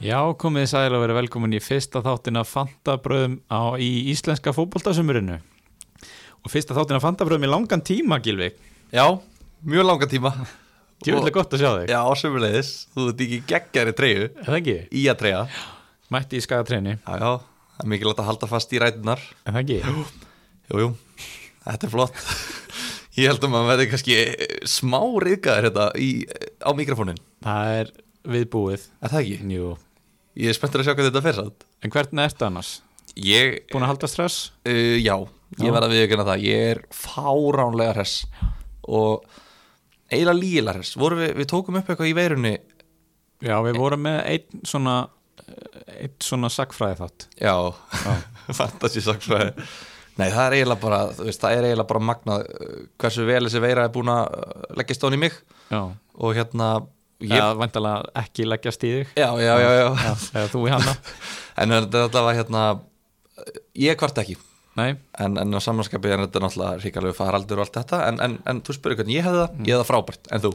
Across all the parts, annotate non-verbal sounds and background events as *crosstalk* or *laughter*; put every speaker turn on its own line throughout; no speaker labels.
Já, komið sæl og verið velkomin í fyrsta þáttin af Fantabröðum á, í íslenska fótboltasumurinu og fyrsta þáttin af Fantabröðum í langan tíma, Gilvi
Já, mjög langa tíma
Gjöfulega gott að sjá þig,
Já, sömulegis, þú ert ekki geggjari treyju
er það ekki?
Í að treyja Já,
Mætti í skagatreinu,
já, það er mikilvægt að halda fast í rætunar
er það ekki?
Jú, jú, þetta er flott *laughs* Ég held að maður verði kannski eh, smá reyðgæðir þetta í, á mikrofónin
Það er viðbúið
Er það ekki?
Jú,
Ég er spenntur að sjá hvað þetta fer satt
en hvernig ertu annars?
Ég,
Búin að halda stress?
uh, já,
Já.
ég verð að viðkjöna það Ég er fáránlega hress Og eiginlega lígilega hress Vorum við, við tókum upp eitthvað í veirunni
Já, við vorum með einn svona eh, einn svona sagfræði þátt
Já, *laughs* fantasy saksfræði Nei, það er eiginlega bara, þú veist, það er eiginlega bara magnað uh, hversu vel þessi veira er búin að uh, leggjast án í mig
Já,
og hérna ég,
ég ja, væntalega ekki leggjast í þig
já, já, já, já.
Já, eða þú í *laughs* hana
*laughs* en þetta var hérna ég kvart ekki
Nei,
en, en á samanskapið er þetta náttúrulega ríkalegu faraldur og allt þetta en, en, en þú spurði hvernig ég hefði það, ég hefði það frábært en þú?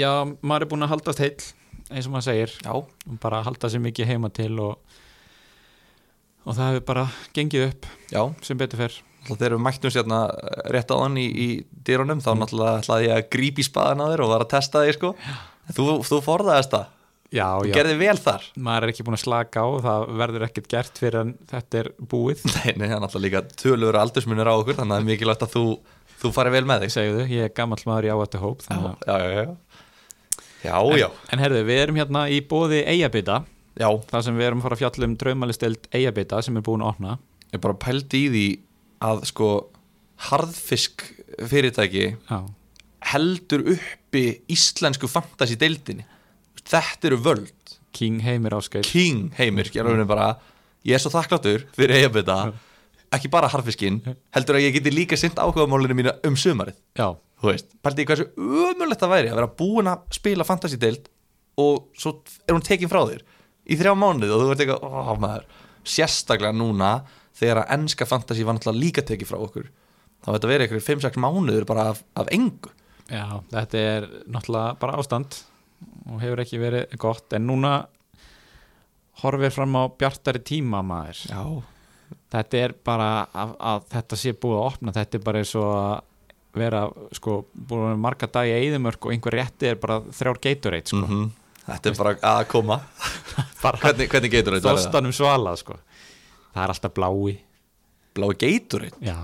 já, maður er búin að haldast heill eins og maður segir
Já,
og bara halda sér mikið heima til og, og það hefur bara gengið upp
já,
sem betur fer
náttúrulega þegar við mættum sérna rétt á hann í, í dyrunum þá náttúrulega ætlaði ég að grípi spaðan að þér og var að testa þig sko En þú, þú forðaðist það,
já, já,
gerði vel þar
maður er ekki búin að slaka á það verður ekkert gert fyrir en þetta er búið
*laughs* Nei, nei, það er náttúrulega líka tölur aldursmunir á okkur þannig að það er mikilvægt að þú, þú farið vel með þig
segjuðu, ég er gammal maður í áættu hóp þannig að-
Já, já, já Já, já,
en herðu, við erum hérna í bóði Eyjabita
já,
þar sem við erum að fara að fjalla um draumalistild Eyjabita sem er búin að opna
ég bara pældi í því að sko harðfisk fyrirtæki
já,
heldur uppi íslensku fantasy deildinni Þetta eru völd,
King Heimir Áskeið
king heimir ég er alveg bara, ég er svo þakkláttur fyrir eigabita, ekki bara harðfiskinn heldur að ég geti líka sint áhugamálinu mínu um sumarið
já,
þú veist, pældi í hversu umjulegt það væri að vera búin að spila fantasy deild og svo er hún tekin frá þér í þrjá mánuði og þú ert eitthvað ó, maður, sérstaklega núna þegar að enska fantasy var náttúrulega líka tekin frá okkur þá þetta verið eitthvað 5-6 mánuður bara af, af engu
Já, þetta er náttúrulega bara ástand og hefur ekki verið gott en núna horfir fram á bjartari tíma maður
já,
þetta er bara að, að þetta sé búið að opna þetta er bara eins og að vera sko, búin að vera marga dagi í eðimörk og einhver rétti er bara þrjár geitureit sko.
Mhm. þetta er bara að koma *laughs* hvernig, hvernig getur þetta verið það?
þostanum svala sko. það er alltaf blái
blá getur þetta?
já,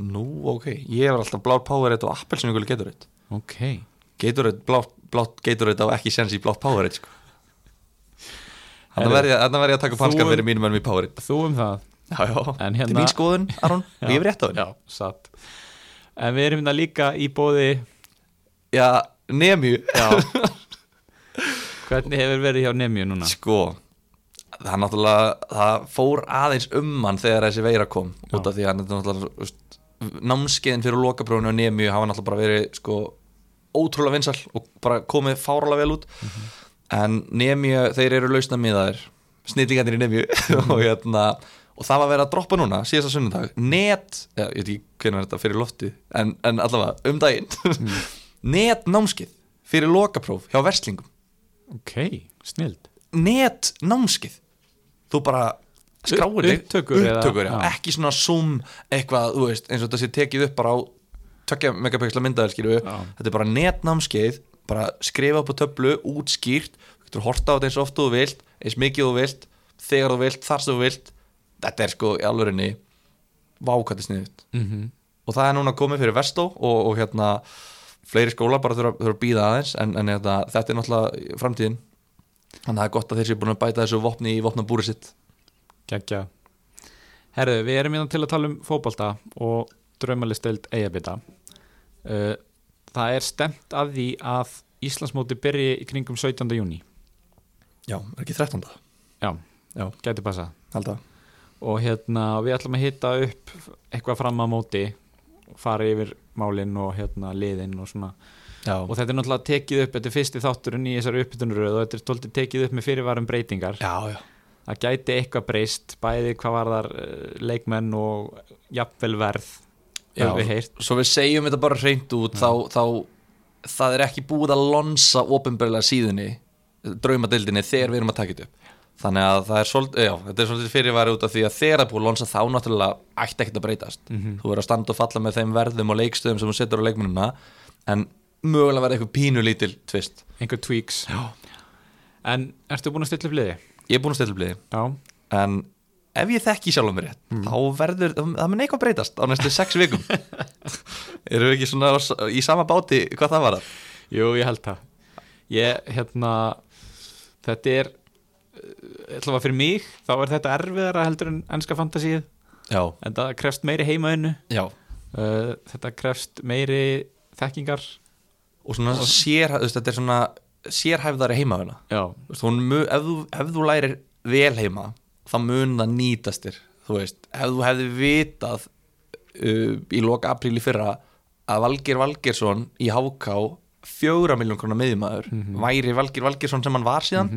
nú, ok, ég er alltaf blá power og appelsinu getur þetta
ok
Gatorade, blátt, blátt Gatorade á ekki sens í blátt Powerade sko. Þannig
Herru,
verð ég þannig verð ég að taka upp
þú-
hanskan fyrir mínum ennum í Powerade
þú um það
Já,
En
já, þetta
hérna-
er mín skoðun, Aron,
Já.
og ég hef rétt á henni
já, satt en við erum hérna líka í bóði
Já, nemi,
já hvernig hefur verið hjá Nemju núna
sko það er náttúrulega, það fór aðeins um hann þegar þessi veira kom út af því að hann er náttúrulega þú veist, námskeiðin fyrir lokaprófinu og nemi hafa náttúrulega bara verið sko ótrúlega vinsal og bara komið fáralega vel út en nemi, þeir eru lausna miðaðir snillingarnir í nemi *laughs* og hérna og það var verið að droppa núna síðasta sunnudag net, já, ég veit ekki hvernig þetta fyrir lofti en, en allavega, um daginn *laughs* net námskeið fyrir lokapróf hjá verslingum
ok, snild
net námskið þú bara skráir þig-
upptökur eða-
upptökur já.
já.
ekki svona zoom eitthvað þú veist, eins og þetta sé tekið upp bara á tökja megapixla myndaðil skilju
Já.
þetta er bara net námskeið bara skrifa upp á töflu, útskýrt þú getur horta á þetta eins oft og þú vilt eins mikið og þú vilt, þegar þú vilt, þar sem þú vilt þetta er sko í alvörinni vákvæði sniðut
mm
og það er núna komið fyrir Vestó og, og hérna fleiri skólar bara þurfa, þurfa að býða aðeins en, en þetta, þetta er náttúrulega framtíðin þannig að það er gott að þeir séu búin að bæta þessu vopni í vopnabúri sitt
Gækja Herðu, við erum hérna til að tala um fótbolta og draumalistild eigabita uh, Það er stemt að því að Íslandsmóti byrji í kringum 17. júni
Já, er ekki 13.
Já,
Já,
gæti passa
alltaf
og hérna við ætlum að hitta upp eitthvað fram að móti fara yfir málinn og hérna liðinn og svona
Já,
og þetta er náttúrulega tekið upp, þetta er fyrsti þátturinn í þessari uppbytunuröð og þetta er tóltið tekið upp með fyrirvarum breytingar
já, já.
það gæti eitthvað breyst bæði hvað var þar leikmenn og jafnvel verð
Já.
hefur við heyrt
Svo við segjum þetta bara hreint út þá, þá það er ekki búið að lonsa ofinbörlega síðunni draumadeildinni þegar við erum að taka þetta upp þannig að það er svolítið, já, þetta er svolítið fyrirværi út af því að þegar það er búið að lonsa þá náttúrulega ætti ekkert að breytast
Mhm.
þú verður að standa og falla með þeim verðum og leikstöðum sem þú setur á leikmennina en mögulega verður eitthvað pínu lítil tvist
einhver tweaks
Já.
en ertu búin að stilla upp liði?
ég er búin að stilla upp liði
já,
en ef ég þekki sjálfum mér rétt
Mhm.
þá verður, það það mun eitthvað breytast á næstu sex
*laughs*
vikum erum við ekki svona á- í sama báti hvað það var að
jú ég held það ég, hérna þetta er eh, ætlafa fyrir mig, þá er þetta erfiðara heldur en ennska fantasíð
já,
en það krefst meiri heimaðinu
já
uh, þetta krefst meiri þekkingar
og svona sér, þú veist, þetta er svona sérhæfðari heimavina
já,
Þú veist, hún mu- ef, þú, ef þú lærir vel heima þá mun það nýtast þér þú veist, ef þú hefði vitað uh, í loka apríl í fyrra að Valgir Valgirsson í HK fjóra miljón krona miðjumæður væri Valgir Valgirsson sem hann var síðan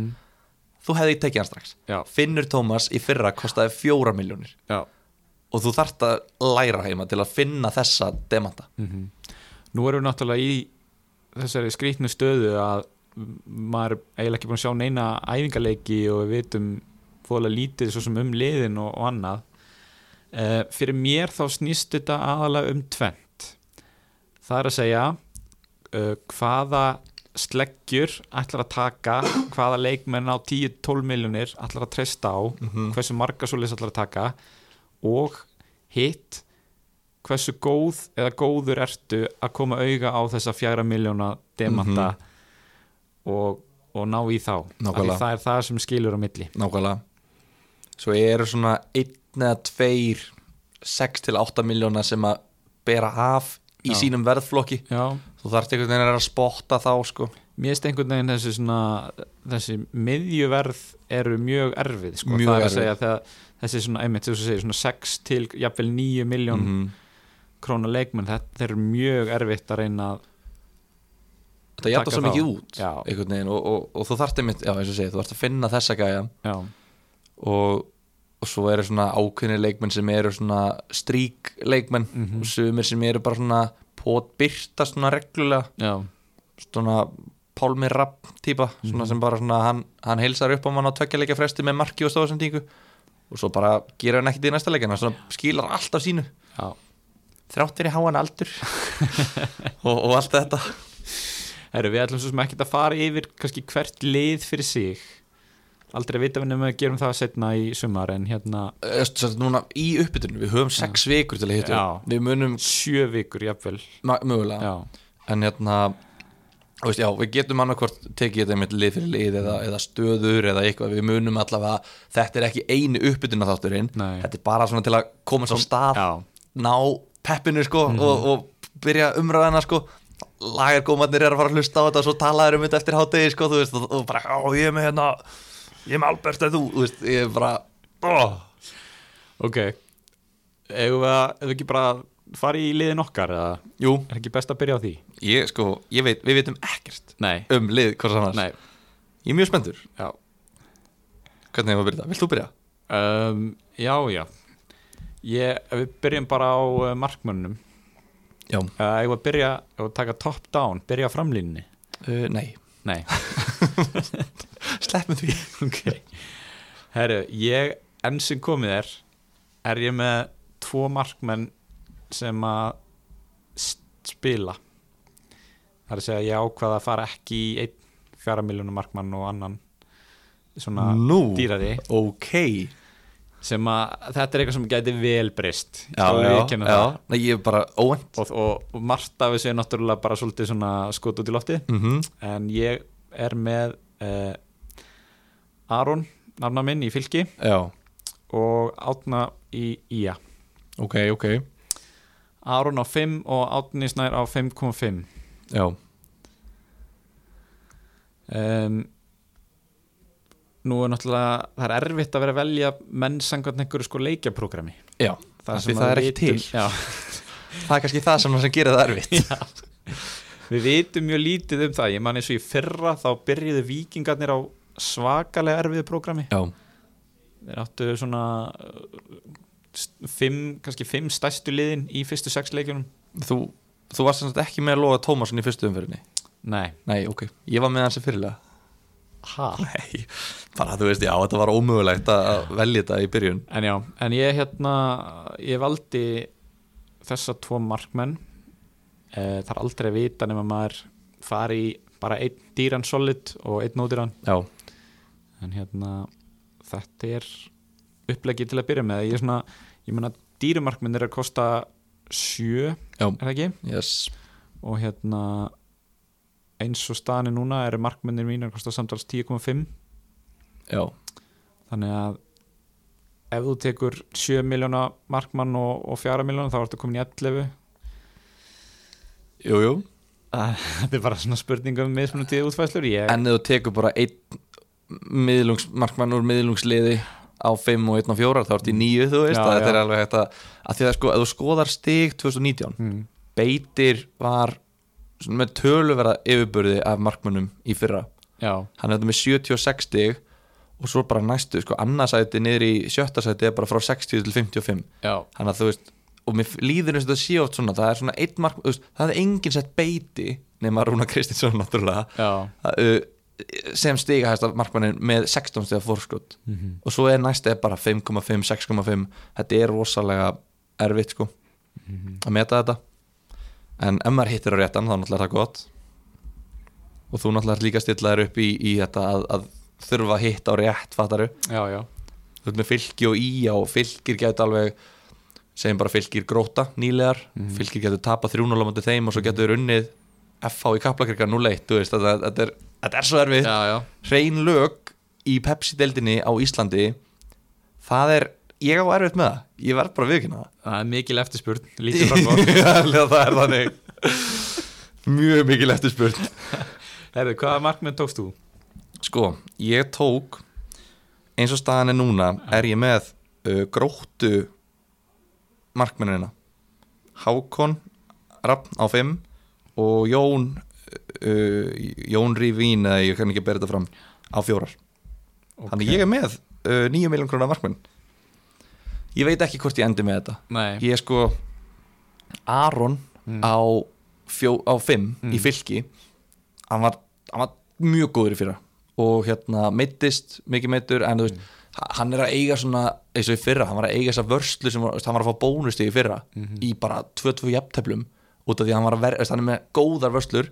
þú hefði tekið hann strax
Já.
Finnur Tómas í fyrra kostaði fjóra miljónir
já.
og þú þarft að læra heima til að finna þessa demanta
Mhm. nú erum við náttúrulega í þessari skrýtnu stöðu að m- maður er eiginlega ekki búin að sjá neina æfingaleiki og við vitum fóðlega lítið svo sem um liðin og, og annað e, fyrir mér þá snýst þetta aðalega um tvent það er að segja e, hvaða sleggjur ætlar að taka hvaða leikmenn á 10-12 miljonir ætlar að treysta á
Mhm.
hversu marga svoleiðis ætlar að taka og hitt hversu góð eða góður ertu að koma auga á þessa fjara miljóna demanta og, og ná í þá
Mhm. Nákvæmlega.
Af því það er það sem skilur á milli
Nákvæmlega Svo eru svona einn eða tveir 6 til 8 miljóna sem að bera af í
Já.
sínum verðflokki
Já,
þú þarft einhvern veginn að spotta þá sko.
mér finnst einhvern veginn þessi svona þessi miðjuverð eru mjög erfið sko.
Mjög
það er að
erfið.
segja þegar þessi svona, einmitt, þú segir, svona 6 til jafnvel 9 miljón mm
Mhm.
króna leikmenn þetta þeir eru mjög erfitt að reyna að
Þetta jæta
Taka
svo
þá.
mikið út
Já.
einhvern veginn og, og, og þú þarft einmitt, já eins og segið, þú þarft að finna þessa gæja
já,
og, og svo eru svona ákveðni leikmenn sem eru svona strík leikmenn
Mhm.
og sumir sem eru bara svona potbyrta svona reglulega
já,
svona Pálmi Rapp típa,
Mhm.
svona sem bara svona hann, hann heilsar upp á mann á tveggjaleika fresti með marki og stofasendingu og svo bara gera hann ekkert í næsta leikin, hann svona skilar allt af sínu
já.
þrátt fyrir háan
*laughs*
aldur og, og allt þetta
Herru, við ætlum svo sem ekkert að fara yfir kannski hvert lið fyrir sig aldrei að vita við nefnum að gerum það setna í sumar en hérna
Öst, svo, Eh, núna í uppbytunum, við höfum sex vikur til að hittu,
Já.
við munum
sjö vikur jafnvel
ma- mögulega,
já,
en hérna þú Veist, já, við getum annarkvort tekið þetta með lið fyrir lið eða, eða stöður eða eitthvað, við munum allavega þetta er ekki einu uppbytuna þátturinn
Nei.
þetta er bara svona til að koma svo stað
já,
ná peppinu sko og, og byrja umræðana sko lagargómanir er að fara að hlusta á þetta og svo talaður um þetta eftir hátegi sko þú veist og, og bara á ég er með hérna ég er með Albert eða þú, þú veist ég er bara ó,
ok eigum við, að, eigum við ekki bara að fara í liðin okkar eða
jú,
er ekki best að byrja á því?
ég sko ég veit, við veitum ekkert
Nei,
um lið hvers annars,
nei,
ég er mjög spenntur
já
hvernig hefur að byrja, vilt þú byrja?
um, já, já ég, ef við byrjum bara á uh, markmönnum
Já,
uh, eigum við að byrja og taka top down byrja á framlínni
uh, nei
nei
sleppum því
ok Herru, ég enn sem komið er er ég með tvo markmenn sem að st- spila það er að segja ég ákvaða að fara ekki í einn fjara miljónu markmann og annan svona
Nú.
dýrari
ok
sem að þetta er eitthvað sem gæti vel breyst Ég
já,
skal
já,
viðurkenna það.
já. Nei, ég er bara óvænt
og, og, og margt af þessu er náttúrulega bara svolítið svona skot út í lofti
mm
en ég er með uh, Aron nafna minn í fylki
já,
og Átna í Ía
ok, ok
Aron á 5 og Átni Snær á 5,5
já,
um, Nú er náttúrulega það er erfitt að vera að velja menn sangvæmt einhverju sko leikjaprógrami
já Af því það er ekki til.
já,
það er kannski það sem, sem gerir það erfitt
Við vitum mjög lítið um það ég man eins og í fyrra þá byrjuðu vikingarnir á svakalega erfiðu prógrami
*laughs* já,
Þeir áttu svona uh, st- fimm, kannski fimm stærstu liðin í fyrstu sex leikjunum
þú, þú varst sem sagt ekki með að loga Tómasson í fyrstu umferðinni
Nei,
Nei, ok, ég var með hans í fyrirlega
ha?
Nei, bara þú veist, já, þetta var ómögulegt að velja þetta í byrjun
en já, en ég hérna ég valdi þessa tvo markmenn eh, það er aldrei að vita nema maður fari í bara einn dýran solid og einn ódýran
Já,
en hérna þetta er upplegi til að byrja með ég er svona, ég meina dýrumarkmenn er að kosta sjö,
Já.
er það ekki?
yes
og hérna eins og staðan er núna eru markmennir mínir að kosta samtals 10,5
Já,
þannig að ef þú tekur 7 miljóna markmann og, og 4 miljóna þá ertu komin í 11
jú, jú
*laughs* þetta er bara svona spurningum með svona tíð útfæslur ég,
Ah. En ef þú tekur bara einn miðlungs, markmann úr miðlungsliði á 5 og 1 á 4 þá ertu í 9 þú veist
Já,
já, þetta
já.
er alveg hægt að, að því að sko, ef þú skoðar stig 2019
mm,
Beitir var svona með töluverða yfirburði af markmannum í fyrra
já,
hann er þetta með 76 stig og svo bara næstu, sko, annarsæti niður í sjötta sæti er bara frá 60 til 55
já,
þannig að þú veist og mér líður eins og þetta sé oft svona það er svona einn mark, þú veist, það er enginn sett beiti nema Rúna Kristinsson náttúrulega
já
að, uh, sem stiga hægsta markmannin með 16 stiga fórskot og svo er næst er bara 5,5, 6,5 þetta er rosalega erfitt sko að meta þetta en ef maður hittir á réttan þá náttúrulega er það gott og þú náttúrulega ert líka stillaður upp í, í þetta að, að þurfa að hitta á rétt fattaru
já, já,
þú ert með fylki og í og fylkir getur alveg segjum bara fylkir gróta nýlegar fylkir getur tapað 3-0 á móti þeim og svo getur þau unnið FH í kaplakrika 0-1 þú veist, þetta, þetta, er, þetta er svo erfið
já, já.
hrein lög í Pepsi-deldinni á Íslandi það er, ég á erfitt með það ég verð bara að viðkynna
það er mikil eftirspurn
*laughs*
lítið framfá
það Alveg, það er þannig mjög mikil eftirspurn
Herðu, hvaða markmenn tókst þú?
sko, ég tók eins og staðan er núna er ég með uh, gróttu markmennina Hákon Rappn á 5 og Jón uh, Jón Rivín eða ég kann ekki að bera þetta fram á fjórar þannig ég er með uh, 9 miljón krónar markmenn ég veit ekki hvort ég endi með þetta
Nei,
ég er sko Aron
Mm.
á, fjó, á fimm
Mm.
í fylki hann var, hann var mjög góður í fyrra og hérna meittist mikið meittur en þú
Mm.
veist h- hann er að eiga svona eins og í fyrra, hann var að eiga þessa vörslu sem var, þú veist, hann var að fá bónusti í fyrra
Mhm.
í bara 2-2 jafnteflum út af því að hann var að vera, þú veist, hann er með góðar vörslur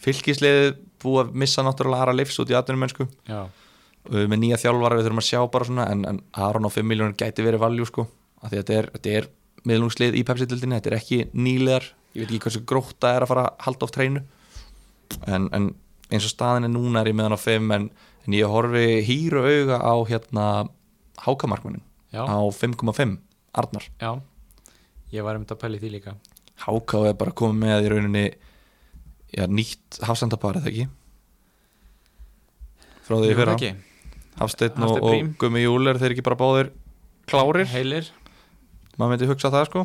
fylkisliðið búið að missa náttúrulega aðra leifs út í atvinnum mennsku
já,
Uh, með nýja þjálfara við þurfum að sjá bara svona en, en Aron á 5 miljónir gæti verið valjú sko af því að þetta er, þetta er miðlungslið í Pepsi-dildinni, þetta er ekki nýlegar ég veit ekki hversu grótta er að fara að halda of treinu en, en eins og staðin er núna er ég með hann á 5 en, en ég horfi hýru auga á hérna hákamarkmannin
já,
á 5,5 Arnar,
já Ég var um þetta að pæli því líka
háká er bara komið með í rauninni já, nýtt hafsendapar eða ekki frá því
Jú,
í fyrra
ekki.
Hafsteinn og,
Hafsteinn
og
Brím.
Gummi Júl er þeir ekki bara báðir klárir,
Heilir,
maður myndi hugsa það sko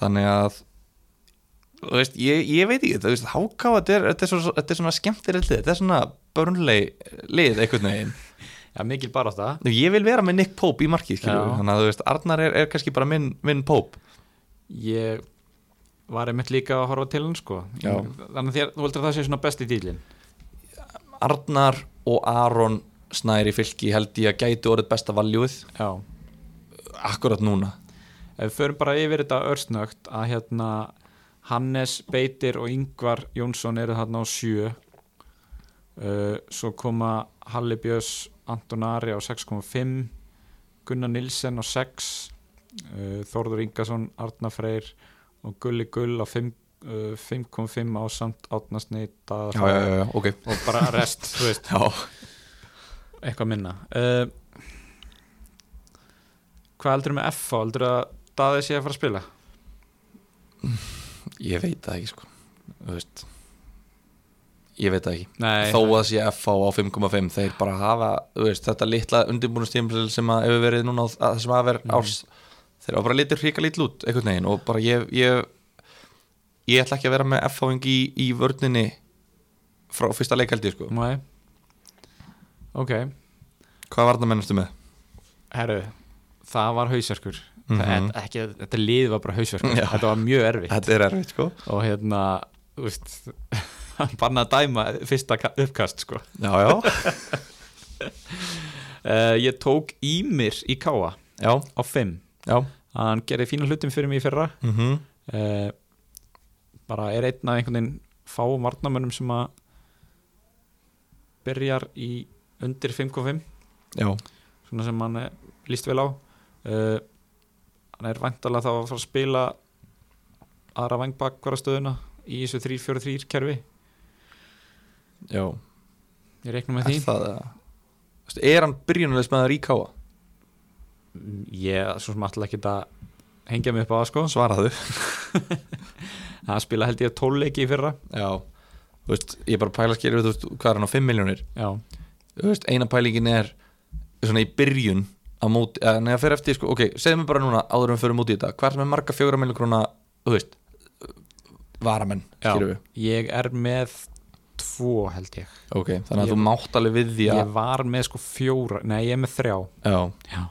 þannig að þú veist, ég, ég veit ekki, þú veist, háká þetta er, þetta er, svo, þetta er svona skemmtileg lið þetta er svona börnleg lið einhvern veginn,
já, mikil bara það
ég vil vera með Nick Pope í markið, skilur,
Já.
þannig að þú veist Arnar er, er kannski bara minn, minn Pope
Ég var einmitt líka að horfa til hann sko
Já.
Þannig að þér, þú heldur að það sé svona besti dýlin
Arnar og Aron snæri fylki held ég að gætu orðið besta valjúið
Já
akkurat núna
Ef við förum bara yfir þetta örsnögt að hérna Hannes, Beitir og Yngvar Jónsson eru þarna á sjö uh, svo koma Halli Björns, Anton Ari á 6,5 Gunnar Nilsen á 6 uh, Þórður Ingason, Arna Freyr og Gulli Gull á 5, uh, 5,5 á samt átnasneita
já, ok
og bara rest, þú veist
já.
eitthvað minna uh, Hvað heldur með F? Heldur að Daði sé að fara að spila?
Ég veit það ekki sko Þú veist Ég veit það ekki
Nei,
Þó að sé FH á 5,5 Þeir bara hafa þú veist, þetta litla undirbúinustímpil sem að hefur verið núna á að þessum aðver árs Þeir hafa bara litur hríka lítl út einhvern veginn og bara ég ég, ég ætla ekki að vera með FH-ing í, í vörninni frá fyrsta leikaldi sko
Nei Ok,
Hvað var það mennastu með?
herru Það var hausverkur mm
Mhm.
ekki, Þetta lið var bara hausverkur
Já.
Þetta var mjög erfitt
Þetta er erfitt sko
Og hérna, þú veist *laughs* hann banna að dæma fyrsta ka- uppkast sko.
já, já, *laughs*
uh, ég tók Ímir í Káa
já,
á 5
já
hann gerði fína hlutum fyrir mig í fyrra
mm
uh, bara er einn af einhvern veginn fáum varnamönnum sem að byrjar í undir 5.5
já,
svona sem hann eh, líst vel á uh, hann er vantalega þá að fara að spila aðra vangbakvara stöðuna í þessu 3-4-3 kerfi
já
ég reiknum með
er
því
það eða? Þú veist, er hann byrjunulegs með að ríkáa?
Mm, ég svo sem alltaf ekki að hengja mig upp á það sko *laughs*
Svaraðu
hann spila held ég 12 leiki í fyrra
Já, þú veist, ég er bara að pæla skilur þú veist, hvað er hann á 5 miljónir
já,
þú veist, eina pælingin er svona í byrjun á móti, að neða fyrir eftir, sko, ok, segðu mér bara núna áður en við fyrir móti í þetta, hvað er með marga 4 miljón króna, þú veist varamenn,
Já.
skilur við
ég er með 2 held ég
ok, þannig að
Ég-
þú mátt alveg við því að
ég var með sko 4, nei ég er með 3
já,
já,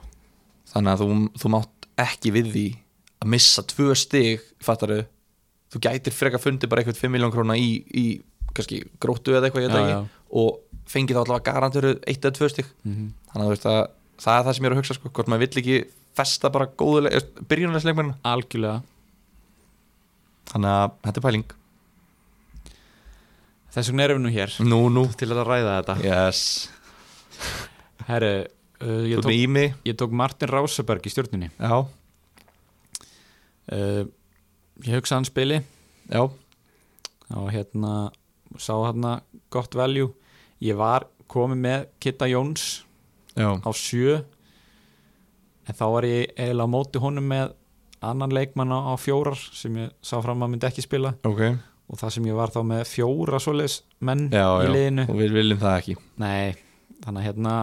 þannig að þú, þú mátt ekki við því að missa tvö stig, fattar þau þú gætir frekar fundið bara eitthvað 5 miljón króna í, í kannski gróttu eða eitthvað, ég veit
Já,
ekki
já.
og fengið þá allavega garantur eitt eða tvö stig
Mhm.
þannig að þú veist að það er það sem ég er að hugsa sko, hvort maður vill ekki festa bara eh, góðuleg byrjunarsleikmenn,
algjörlega
þannig að þetta er pæling
þess vegna erum við nú hér
nú, nú,
til að ræða þetta
yes
herru, uh, ég,
þú
tók,
nými,
ég tók Martin Rásaberg í stjórninni
já,
uh, ég hugsa hann spili
já
og hérna sá hérna gott value ég var komið með Kitta Jóns
já,
á sjö en þá var ég eiginlega á móti honum með annan leikmann á á fjórar sem ég sá fram að myndi ekki spila
ok
og það sem ég var þá með fjóra svoleiðis menn
já,
í
já,
liðinu
og við viljum það ekki
Nei, þannig að hérna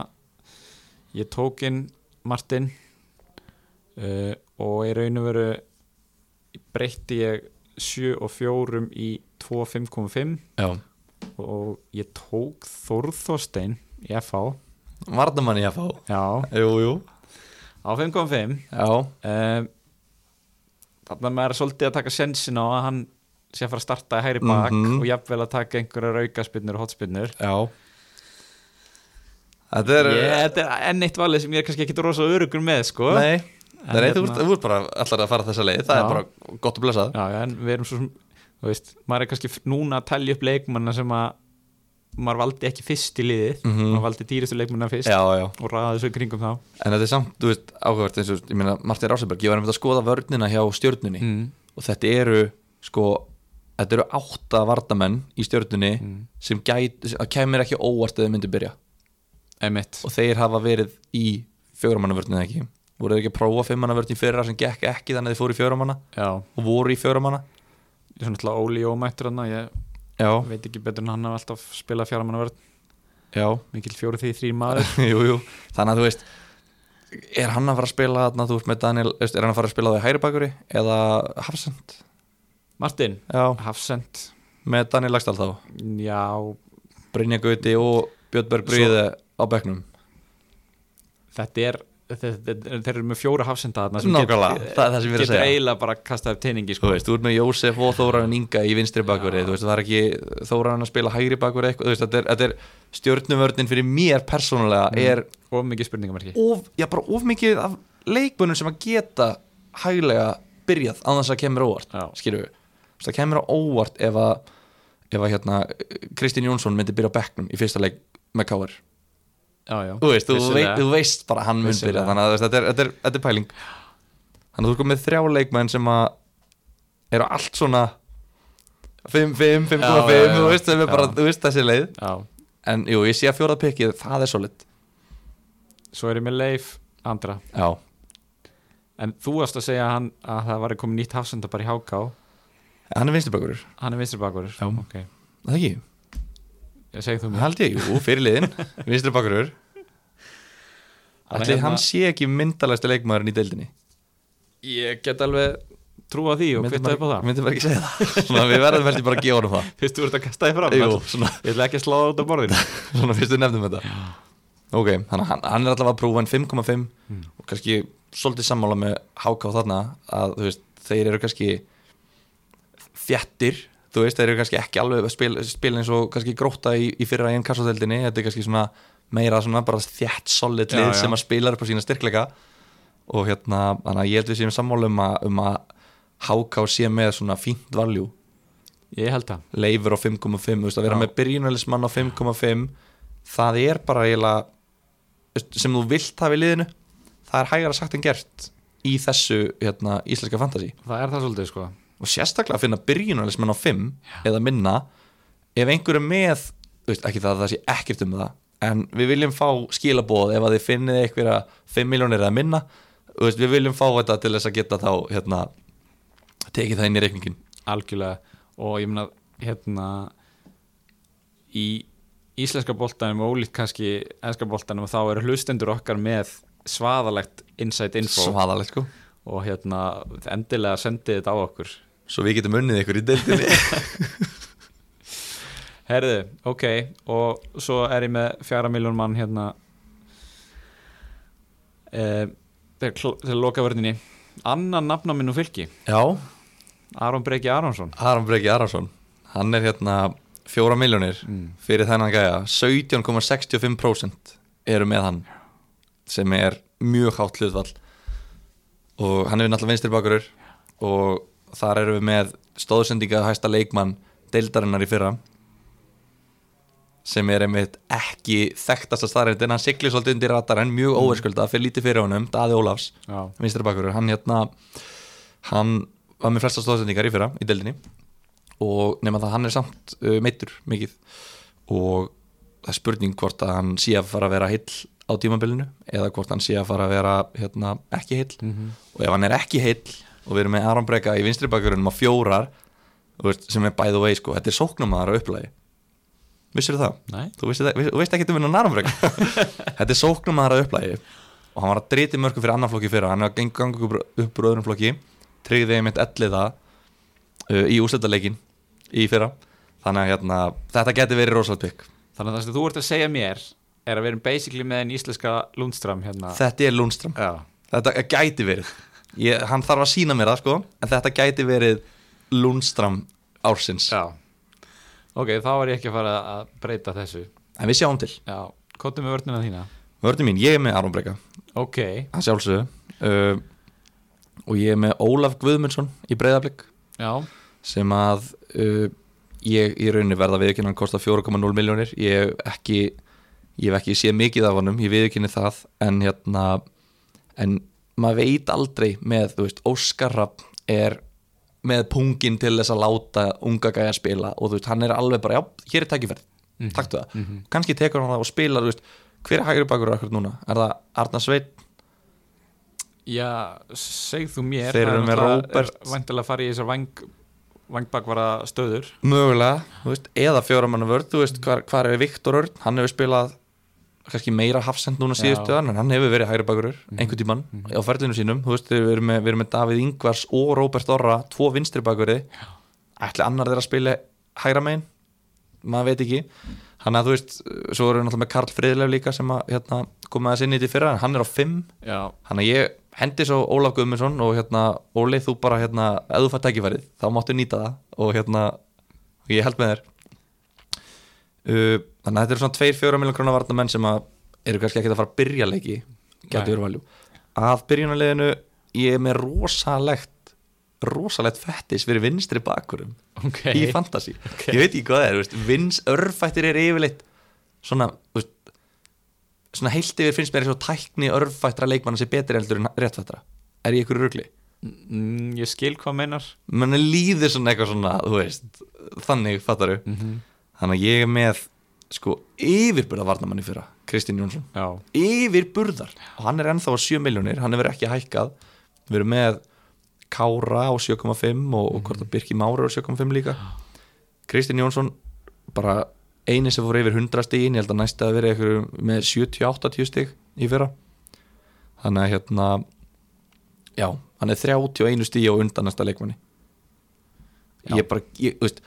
ég tók inn Martin uh, og í raun og veru breytti ég 7 og 4 í 2 5.5
já,
og ég tók Þórþóstein í FH
vardamann ég að fá
já,
jú, jú,
á 5.5
já,
um, þannig að maður er svolítið að taka sensin á að hann sé að fara að starta í hægri bak
Mhm.
og jafnvel að taka einhverjar aukaspinnur og hotspinnur
já þetta er
Ég- þetta er enn eitt valið sem ég er kannski ekki rosa örugur með sko
nei, Hérna. það er
En
eitt úr, úr bara allar að fara þessa leið, það
Já.
er bara gott að blessa
já, já, en við erum svo sem þú veist, maður er kannski f- núna að telja upp leikmanna sem að maður valdi ekki fyrst í liðið
Mhm.
maður valdi dýristu leikmanna fyrst
já, já
og ræði þessu í kringum þá
En þetta er samt, þú veist, áhugavert eins og ég meina Martin Rásenberg, ég var einmitt að skoða vörnina hjá stjörnunni
mm.
og þetta eru sko, þetta eru átta vardamenn í stjörnunni sem gæt, að kemur ekki á óvart eða myndi byrja
emitt
og þeir hafa verið í fjóramannavörnina ekki voru þeir ekki að prófa fimmannavörn í fyrra sem gekk ekki þannig að þeir fóru í fjóramanna
já,
og voru í fjóramanna
ég er svona alltaf Óli Jómættur hann ég
Já,
veit ekki betur en hann hafði alltaf spilað fjármannavörð
já, *laughs*
mikil fjóri því þrý maður
jú, jú þannig að þú veist er hann að fara að spila þarna, þú veist, með Daniel þú veist, er hann að fara að spila það í hægri bakuri eða Hafsend,
Martin,
já,
Hafsend
með Daniel Lagstall þá
já,
Brynja Gauti og Björn Berg Bríði á bekknum
þetta er þe- þe- þe- þeir eru með fjóra Hafsenda þarna sem
Nákvæmlega,
get-
það er það sem ég er að
getur
segja.
eiginlega bara kastað upp teiningi
Þú
sko.
veist, þú ert með Jósef og Þóran Inga í vinstri bakverði, þú veist, það er ekki Þóran að spila hægri bakverði eitthvað, þú veist, þetta er, þetta er stjórnumvörnin fyrir mér persónulega er
og mikið spurningamarki
of, já bara of mikið af leikmönnum sem að geta hæglega byrjað á þess að kemur á óvart,
Já.
skilur við Þú veist, það kemur á óvart ef að, ef að hérna, Kristín Jónsson myndi byrja á bekknum í fyrsta leik með Káar
já, já,
þú veist, þú, veit,
vissulega.
þú veist bara að hann mun
Vissulega.
byrja þannig að þú veist, þetta er, þetta, er, þetta er pæling þannig að þú sko með þrjá leikmenn sem að eru allt svona 5, 5, 5,
Já, já,
5
já.
þú veist, sem er bara,
Já.
þú veist þessi leið
já.
en jú, ég sé að fjórað pikkið, það er solid
Svo er ég með Leif Andra
já,
En þú varst að segja að hann, að það var komið nýtt hafsenda bara í HK
hann er vinstibökkurur,
Hann er vinstribakur
Já.
okay.
það ekki,
Segðu þú mér
held ég, jú,
*laughs*
fyrirliðin vinstibökkurur Ætli
hérna-
hann sé ekki myndalægsta leikmaðurinn í deildinni
Ég get alveg trúa því og
Myndi
kvitta upp á
maður-
það
Myndi bara ekki segja það *laughs* Svona, Við verðum veldig bara að gefa honum það
Fyrst þú ert að kasta þig fram
Jú,
Mats.
svona,
Ég ætla ekki að slá það út af borðinu
svona fyrst við nefnum þetta ok, hann, hann, hann er allavega að prófa en 5,5
Hmm.
og kannski svolítið sammála með Háká þarna að þú veist, þeir eru kannski þjættir þú veist, þeir eru kannski ekki alveg að spila, spila eins og kannski gróta í, í fyrra í enn kassadeldinni, þetta er kannski svona meira svona bara þjætt solid
Já,
lið
já.
sem að spila upp á sína styrkleika og hérna, þannig að ég held við séum sammála um að, um að HK sé með svona fínt valjú
Ég held það
leifur á 5,5 þú veist, að vera
Já.
með byrjunalismann á 5,5 það er bara eiginlega þú veist, sem þú vilt hafa í liðinu það er hægara sagt en gert í þessu hérna, íslenska fantasi
Það er það svolítið sko
og sérstaklega að finna byrjunalismann á 5 eða minna ef einhver er með, þú veist, ekki það að það sé ekkert um það en við viljum fá skilaboð ef að þið finnið einhverja 5 miljónir eða minna þú veist, við viljum fá þetta til þess að geta þá hérna, tekið það inn í reikningin
Algjörlega og ég meina hérna í íslenska boltanum og ólíkt kannski enska boltanum þá eru hlustendur okkar með svaðalegt inside info
svaðalegt sko
og hérna endilega sendið þetta á okkur
svo við getum unnið ykkur í deildinni
Herðu, ok og svo er ég með fjara miljón mann hérna eh, til lokavörninni annan nafn á minn og fylki
Já,
Aron Breki Aronsson
Aron Breki Arason Hann er hérna fjóra miljónir fyrir þennan gæja 17,65% eru með hann sem er mjög hátt hlutvall og hann er náttúrulega vinstri bakurur og þar erum við með stóðsendingað hæsta leikmann deildarinnar í fyrra sem er einmitt ekki þekktasta staðarindin, hann siglir svolítið undir ratar en mjög óverskuldað, fyrir lítið fyrir honum Daði Ólafs
Já,
vinstri bakurur, hann hérna hann var með flesta stóðsendingar í fyrra í deldinni og nema það hann er samt uh, meittur mikið og það er spurning hvort að hann sé að fara að vera heill á tímabilinu eða hvort hann sé að fara að vera hérna, ekki heill og ef hann er ekki heill og við erum með Aron Breka í vinstri bakurunum á fjórar þú veist, sem er by the way sko, þetta er sóknumæðar á upplagi vissir það?
nei,
þú veist, veist, veist ekki um hennan Arambrek þetta er sóknum aðra upplægi og hann var að driti mörgum fyrir annan flokki fyrir hann var að geng- ganga upp, upp úr öðrum flokki tryggði einmitt ellið það uh, í úsletaleikin í fyrra þannig að hérna, þetta geti verið rosalegt pikk
þannig að það sem þú ert að segja mér er að við erum basically með einn íslenska Lundström hérna
þetta er Lundström,
Já,
þetta gæti verið Ég, hann þarf að sína mér það sko en þetta gæti verið Lundström ársins
já Ok, þá er ég ekki að fara að breyta þessu
en við sjáum til,
Já, kóttum við vörnum að þína
vörðum mín, ég er með Arambreka
Ok,
að sjálfsögðu uh, og ég er með Ólaf Guðmundsson í breyðablík
já,
sem að uh, ég í rauninni verða viðkynna hann kostar 4,0 miljónir ég hef ekki ég hef ekki séð mikið af honum, ég viðkynni það en hérna en maður veit aldrei með, þú veist, Óskar Rapp er með pungin til þess að láta unga gæja spila og þú veist, hann er alveg bara, já, hér er tækifærð
Mhm.
taktu það, kannski tekur hann það og spilar þú veist, hver er hægri bakur akkur núna er það Arna Sveit,
já, segð þú mér
Þeir
það er
eru með
náttúrulega-
Róbert.
er Væntanlega að fara í þessar vang, vangbakvara stöður
mögulega, þú veist, eða fjóramanna vörð, þú veist, hvar, hvar er Viktor Örn hann hefur spilað kannski meira hafsend núna
Já.
síðustu hann, en hann hefur verið hægri bakurur, einhvern tímann, á ferðinu sínum þú veist, við erum með, við erum með Davíð Ingvars og Róbert Orra, tvo vinstri bakuri ætli annar þeirra að spila hægra megin, maður veit ekki hann að þú veist, svo erum við náttúrulega með Karl Friðleif líka sem að hérna, koma þess inn í því fyrra, en hann er á 5
Já,
hann að ég hendi svo Ólaf Guðmundsson og hérna, Óli þú bara hérna, ef þú fær tækifærið, þá máttu nýta það og hérna, og ég held með þér uh, þannig að þetta eru svona 2-4 miljón krónar varnamenn sem að eru kannski ekki að fara að byrja leiki
Nei.
getur verið valjú að byrjunarleginu, ég er með rosalegt rosalegt fettis fyrir vinstri bakurum
ok
í fantasy ég veit ekki hvað það er, þú veist, vins örfættir er yfirleitt svona, þú veist, svona heilt yfir finnst mér eins og tækni örfættra leikmanna sé betri heldur en réttfættra er ég ykkur rugli?
Mm, Ég skil hvað meinar
mann líður svona eitthvað svona, þú veist þannig fattaru
Mm. Mhm.
þannig að ég er með sko yfirburða varnamann í fyrra, Kristinn Jónsson
Já,
yfirburðar og hann er ennþá á 7 miljónir, hann hefur ekki hækkað við erum með Kára á 7,5 og, og hvort að Birki Mára á 7,5 líka Kristinn Jónsson bara eini sem fór yfir 100 stíðin, ég held að næsta að vera ykkur með 70-80 stíg í fyrra þannig að hérna já, hann er 31 stíð og undan næsta leikmanni
Já.
ég bara, ég, þú veist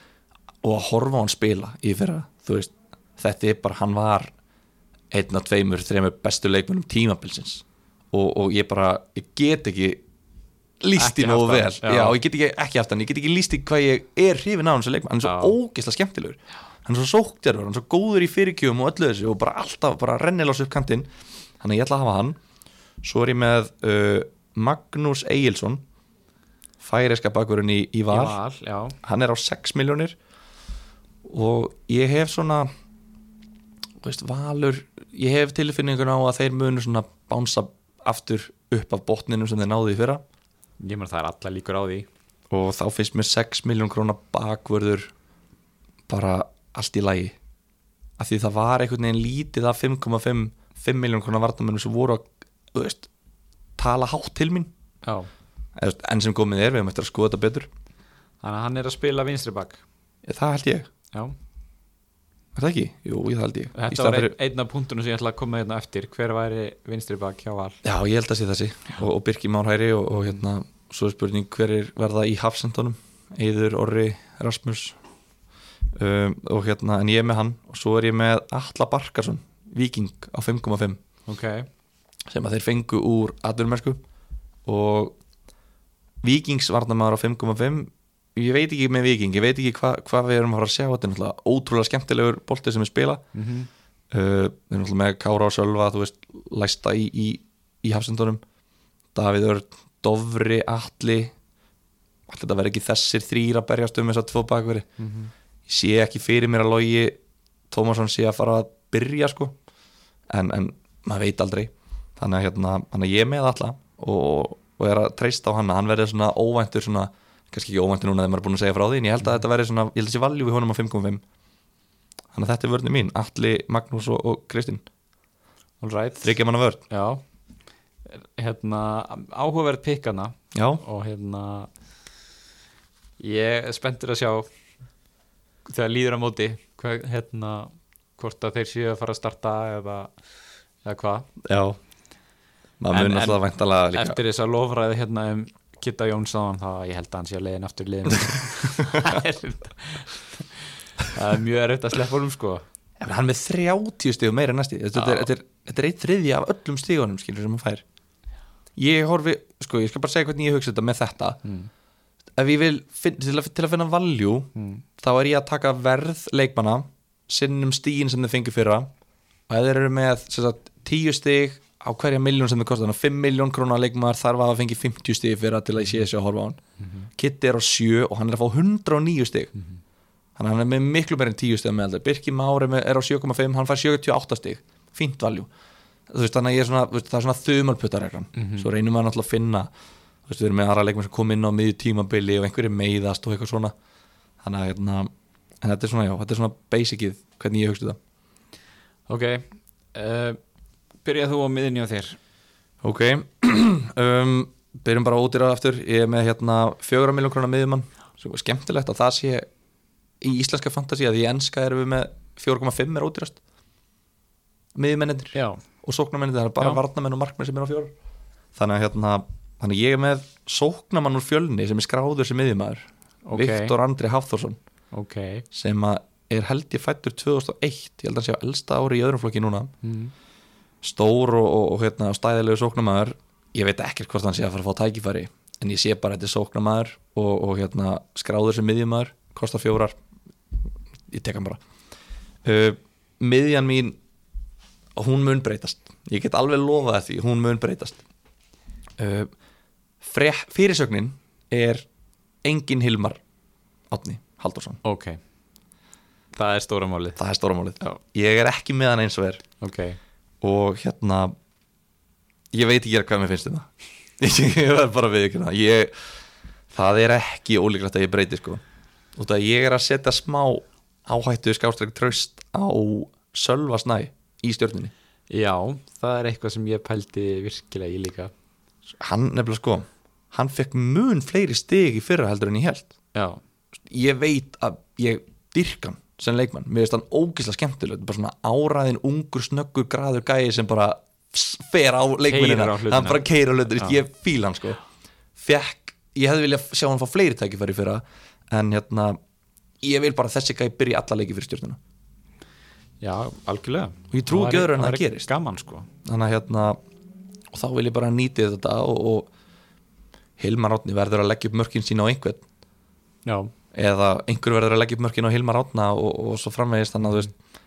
og að horfa á hann spila í fyrra þú veist, þetta er bara, hann var einn af tveimur, þreimur bestu leikmennum tímabilsins og, og ég bara, ég get ekki líst
Ekki
því nógu
haft
vel
hann,
já.
já.
ég get ekki, ekki haft hann, ég get ekki líst því hvað ég er hrifin á hann sem leikmann, hann er
Já.
svo ógeðslega skemmtilegur hann er svo sóktjarur, hann er svo góður í fyrirkjöfum og öllu þessu og bara alltaf bara rennilás upp kantinn þannig að ég ætla að hafa hann svo er ég með uh, Magnús Egilson færiska bakurinn í, í
í
val
val, já
hann er á 6 miljónir og ég hef svona þú veist, valur ég hef tilfinningun á að þeir munu svona bánsa aftur upp af botninum sem þeir náðu í fyrra
ég menn það er alla líkur á því
og þá finnst mér 6 miljón króna bakvörður bara allt í lagi af því það var einhvern veginn lítið af 5,5 5 miljón króna vartamönnum sem voru að þú veist, tala hátt til mín
já.
Eða, þú veist, enn sem komið er, við höfum eftir að skoða þetta betur
þannig að hann er að spila vinstri bak
það held ég,
já.
er það ekki? Jú, það held ég Í
þetta
staðan
var
fyrir-
ein, einn af punktunum sem ég ætla að koma hérna eftir hver væri vinstri bak hjá val
Já, ég held að sé þessi og, og Birki Már Hæri og, og hérna svo er spurning hver er verða í hafsendunum Eður, Orri, Rasmus um, og hérna en ég er með hann og svo er ég með Alla Barkarsson, Viking á 5,5
ok,
sem að þeir fengu úr atvinnumersku og Vikings varnamaður á 5,5 ég veit ekki með Viking, ég veit ekki hva- hvað við erum að fara að sjá, þetta er náttúrulega ótrúlega skemmtilegur bolti sem við spila
mm
uh, við erum alltaf með Kára og Sölva þú veist, læsta í, í, í hafsendunum Davíð Örn, Dofri, Atli allir þetta verður ekki þessir þrýr að berjast um þess að tvo bakveri ég sé ekki fyrir mér að logi Tómasson sé að fara að byrja sko en, en maður veit aldrei þannig að, hérna, þannig að ég er með alla og, og er að treysta á hann að hann verður svona óvæntur svona kannski ekki óvæntur núna þegar maður er búin að segja frá því en ég held að þetta verður svona, ég held að sé valjú við honum á 5.5 þannig að þetta er vörnum mín, Atli, Magnús og, og Kristinn
all right
þryggja manna vörn,
já hérna, áhugaverð pikkana
já,
og hérna ég er spenntur að sjá þegar líður á móti hver, hérna, hvort að þeir séu að fara að starta eða, eða hvað
já maður
En-
mun
en-
alltaf væntalega líka
eftir þess að lofraði hérna um Kitta Jónsson þá ég held að hann sé að leiðin aftur leiðin *laughs* það er mjög erfitt að sleppa honum sko
Ef hann er með 30 stíð meira en næsti þetta,
Já.
er, þetta, er, þetta er eitt þriðja af öllum stíðunum skilur sem hann fær ég horfi, sko ég skal bara segja hvernig ég hugsa þetta með þetta
mm.
ef ég vil, finn, til, að, til að finna valjú
Mm.
þá er ég að taka verð leikmanna sinnum stíðin sem þau fengur fyrra og ef þeir eru með sem sagt, 10 stíð á hverja miljón sem þau kostar þannig að 5 miljón krónar leikmaður þarf að hafa fengið 50 stíð fyrra til að ég sé þessi að horfa á hann Kitty er á 7 og hann er að fá 109 stíð þannig að hann er með miklu meir en 10 stíð með aldrei Birki Már er með- er á 7,5, hann fær 78 stíð fínt valjú þú veist þannig að ég er svona, þú veist, það er svona þumalputtar svo reynum við náttúrulega að finna þú veist, við erum með aðra leikmenn sem kom inn á miðju tímabili og einhverjir meiðast og eitthvað svona þannig að hérna, en þetta er svona já, þetta er svona basicið hvernig ég hugstu það
ok uh, byrjað þú á miðinni á þér
ok, *clears throat* um, byrjum bara ódýrað aftur, ég er með hérna fjögra miljón krónar miðjumann, sem er skemmtilegt að það sé í íslenska fantasi að í enska erum við með 4,5 er ódýrast miðjumennir
já,
og sóknarmennin það er bara
Já.
varnamenn og markmenn sem er á fjórar þannig að hérna þannig að ég er með sóknarmann úr fjölni sem er skráður sem miðjumæður
Ok.
Viktor Andri Hafþórsson
ok
sem að er held ég fættur 2001 ég held að hann sé á elsta ári í öðrum flokki núna
mm.
stór og, og, og hérna, stæðilegu sóknarmæður ég veit ekkert hvort hann sé að fara að fá tækifæri en ég sé bara að þetta er sóknarmæður og, og hérna, skráður sem miðjumæður kostar fjórar ég tek hann bara uh, miðjan mín hún mun breytast ég get alveg lofað því, hún mun breytast uh, fre, fyrirsögnin er engin Hilmar Átni Haldursson
ok það er stóra málið
það er stóra málið
Já.
ég er ekki með hann eins og er
ok,
og hérna ég veit ekki hvað mér finnst um það *laughs* ég verð bara við ykkur ég, það er ekki ólíklegt að ég breyti sko út að ég er að setja smá áhættu skástræk tröst á Sölva Snæ í stjórninni
já það er eitthvað sem ég pældi virkilega í líka
hann nefnilega sko hann fekk mun fleiri stig í fyrra heldur en ég held
já,
ég veit að ég dyrkan sem leikmann, mér finnst hann ógislega skemmtileg bara svona áraðin, ungur, snöggur, graður gæi sem bara s- fer á leikmennina,
á hlutina.
hann bara keir á hlutina
Já.
ég fíl hann sko Fekk, ég hefði viljað sjá hann fá fleiri tækifæri fyrir en hérna ég vil bara að þessi gæi byrja í alla leiki fyrir stjórnuna
Já, algjörlega
Og ég trúi
Það
ekki
er-
öðru en það
er
gerist.
Gaman sko
þannig að hérna og þá vil ég bara nýti þetta og, og Hilmar Átni verður að leggja upp mörkin sín á einhvern
já,
eða einhver verður að leggja upp mörkin á Hilmar Átna og, og svo framvegist þannig að þú veist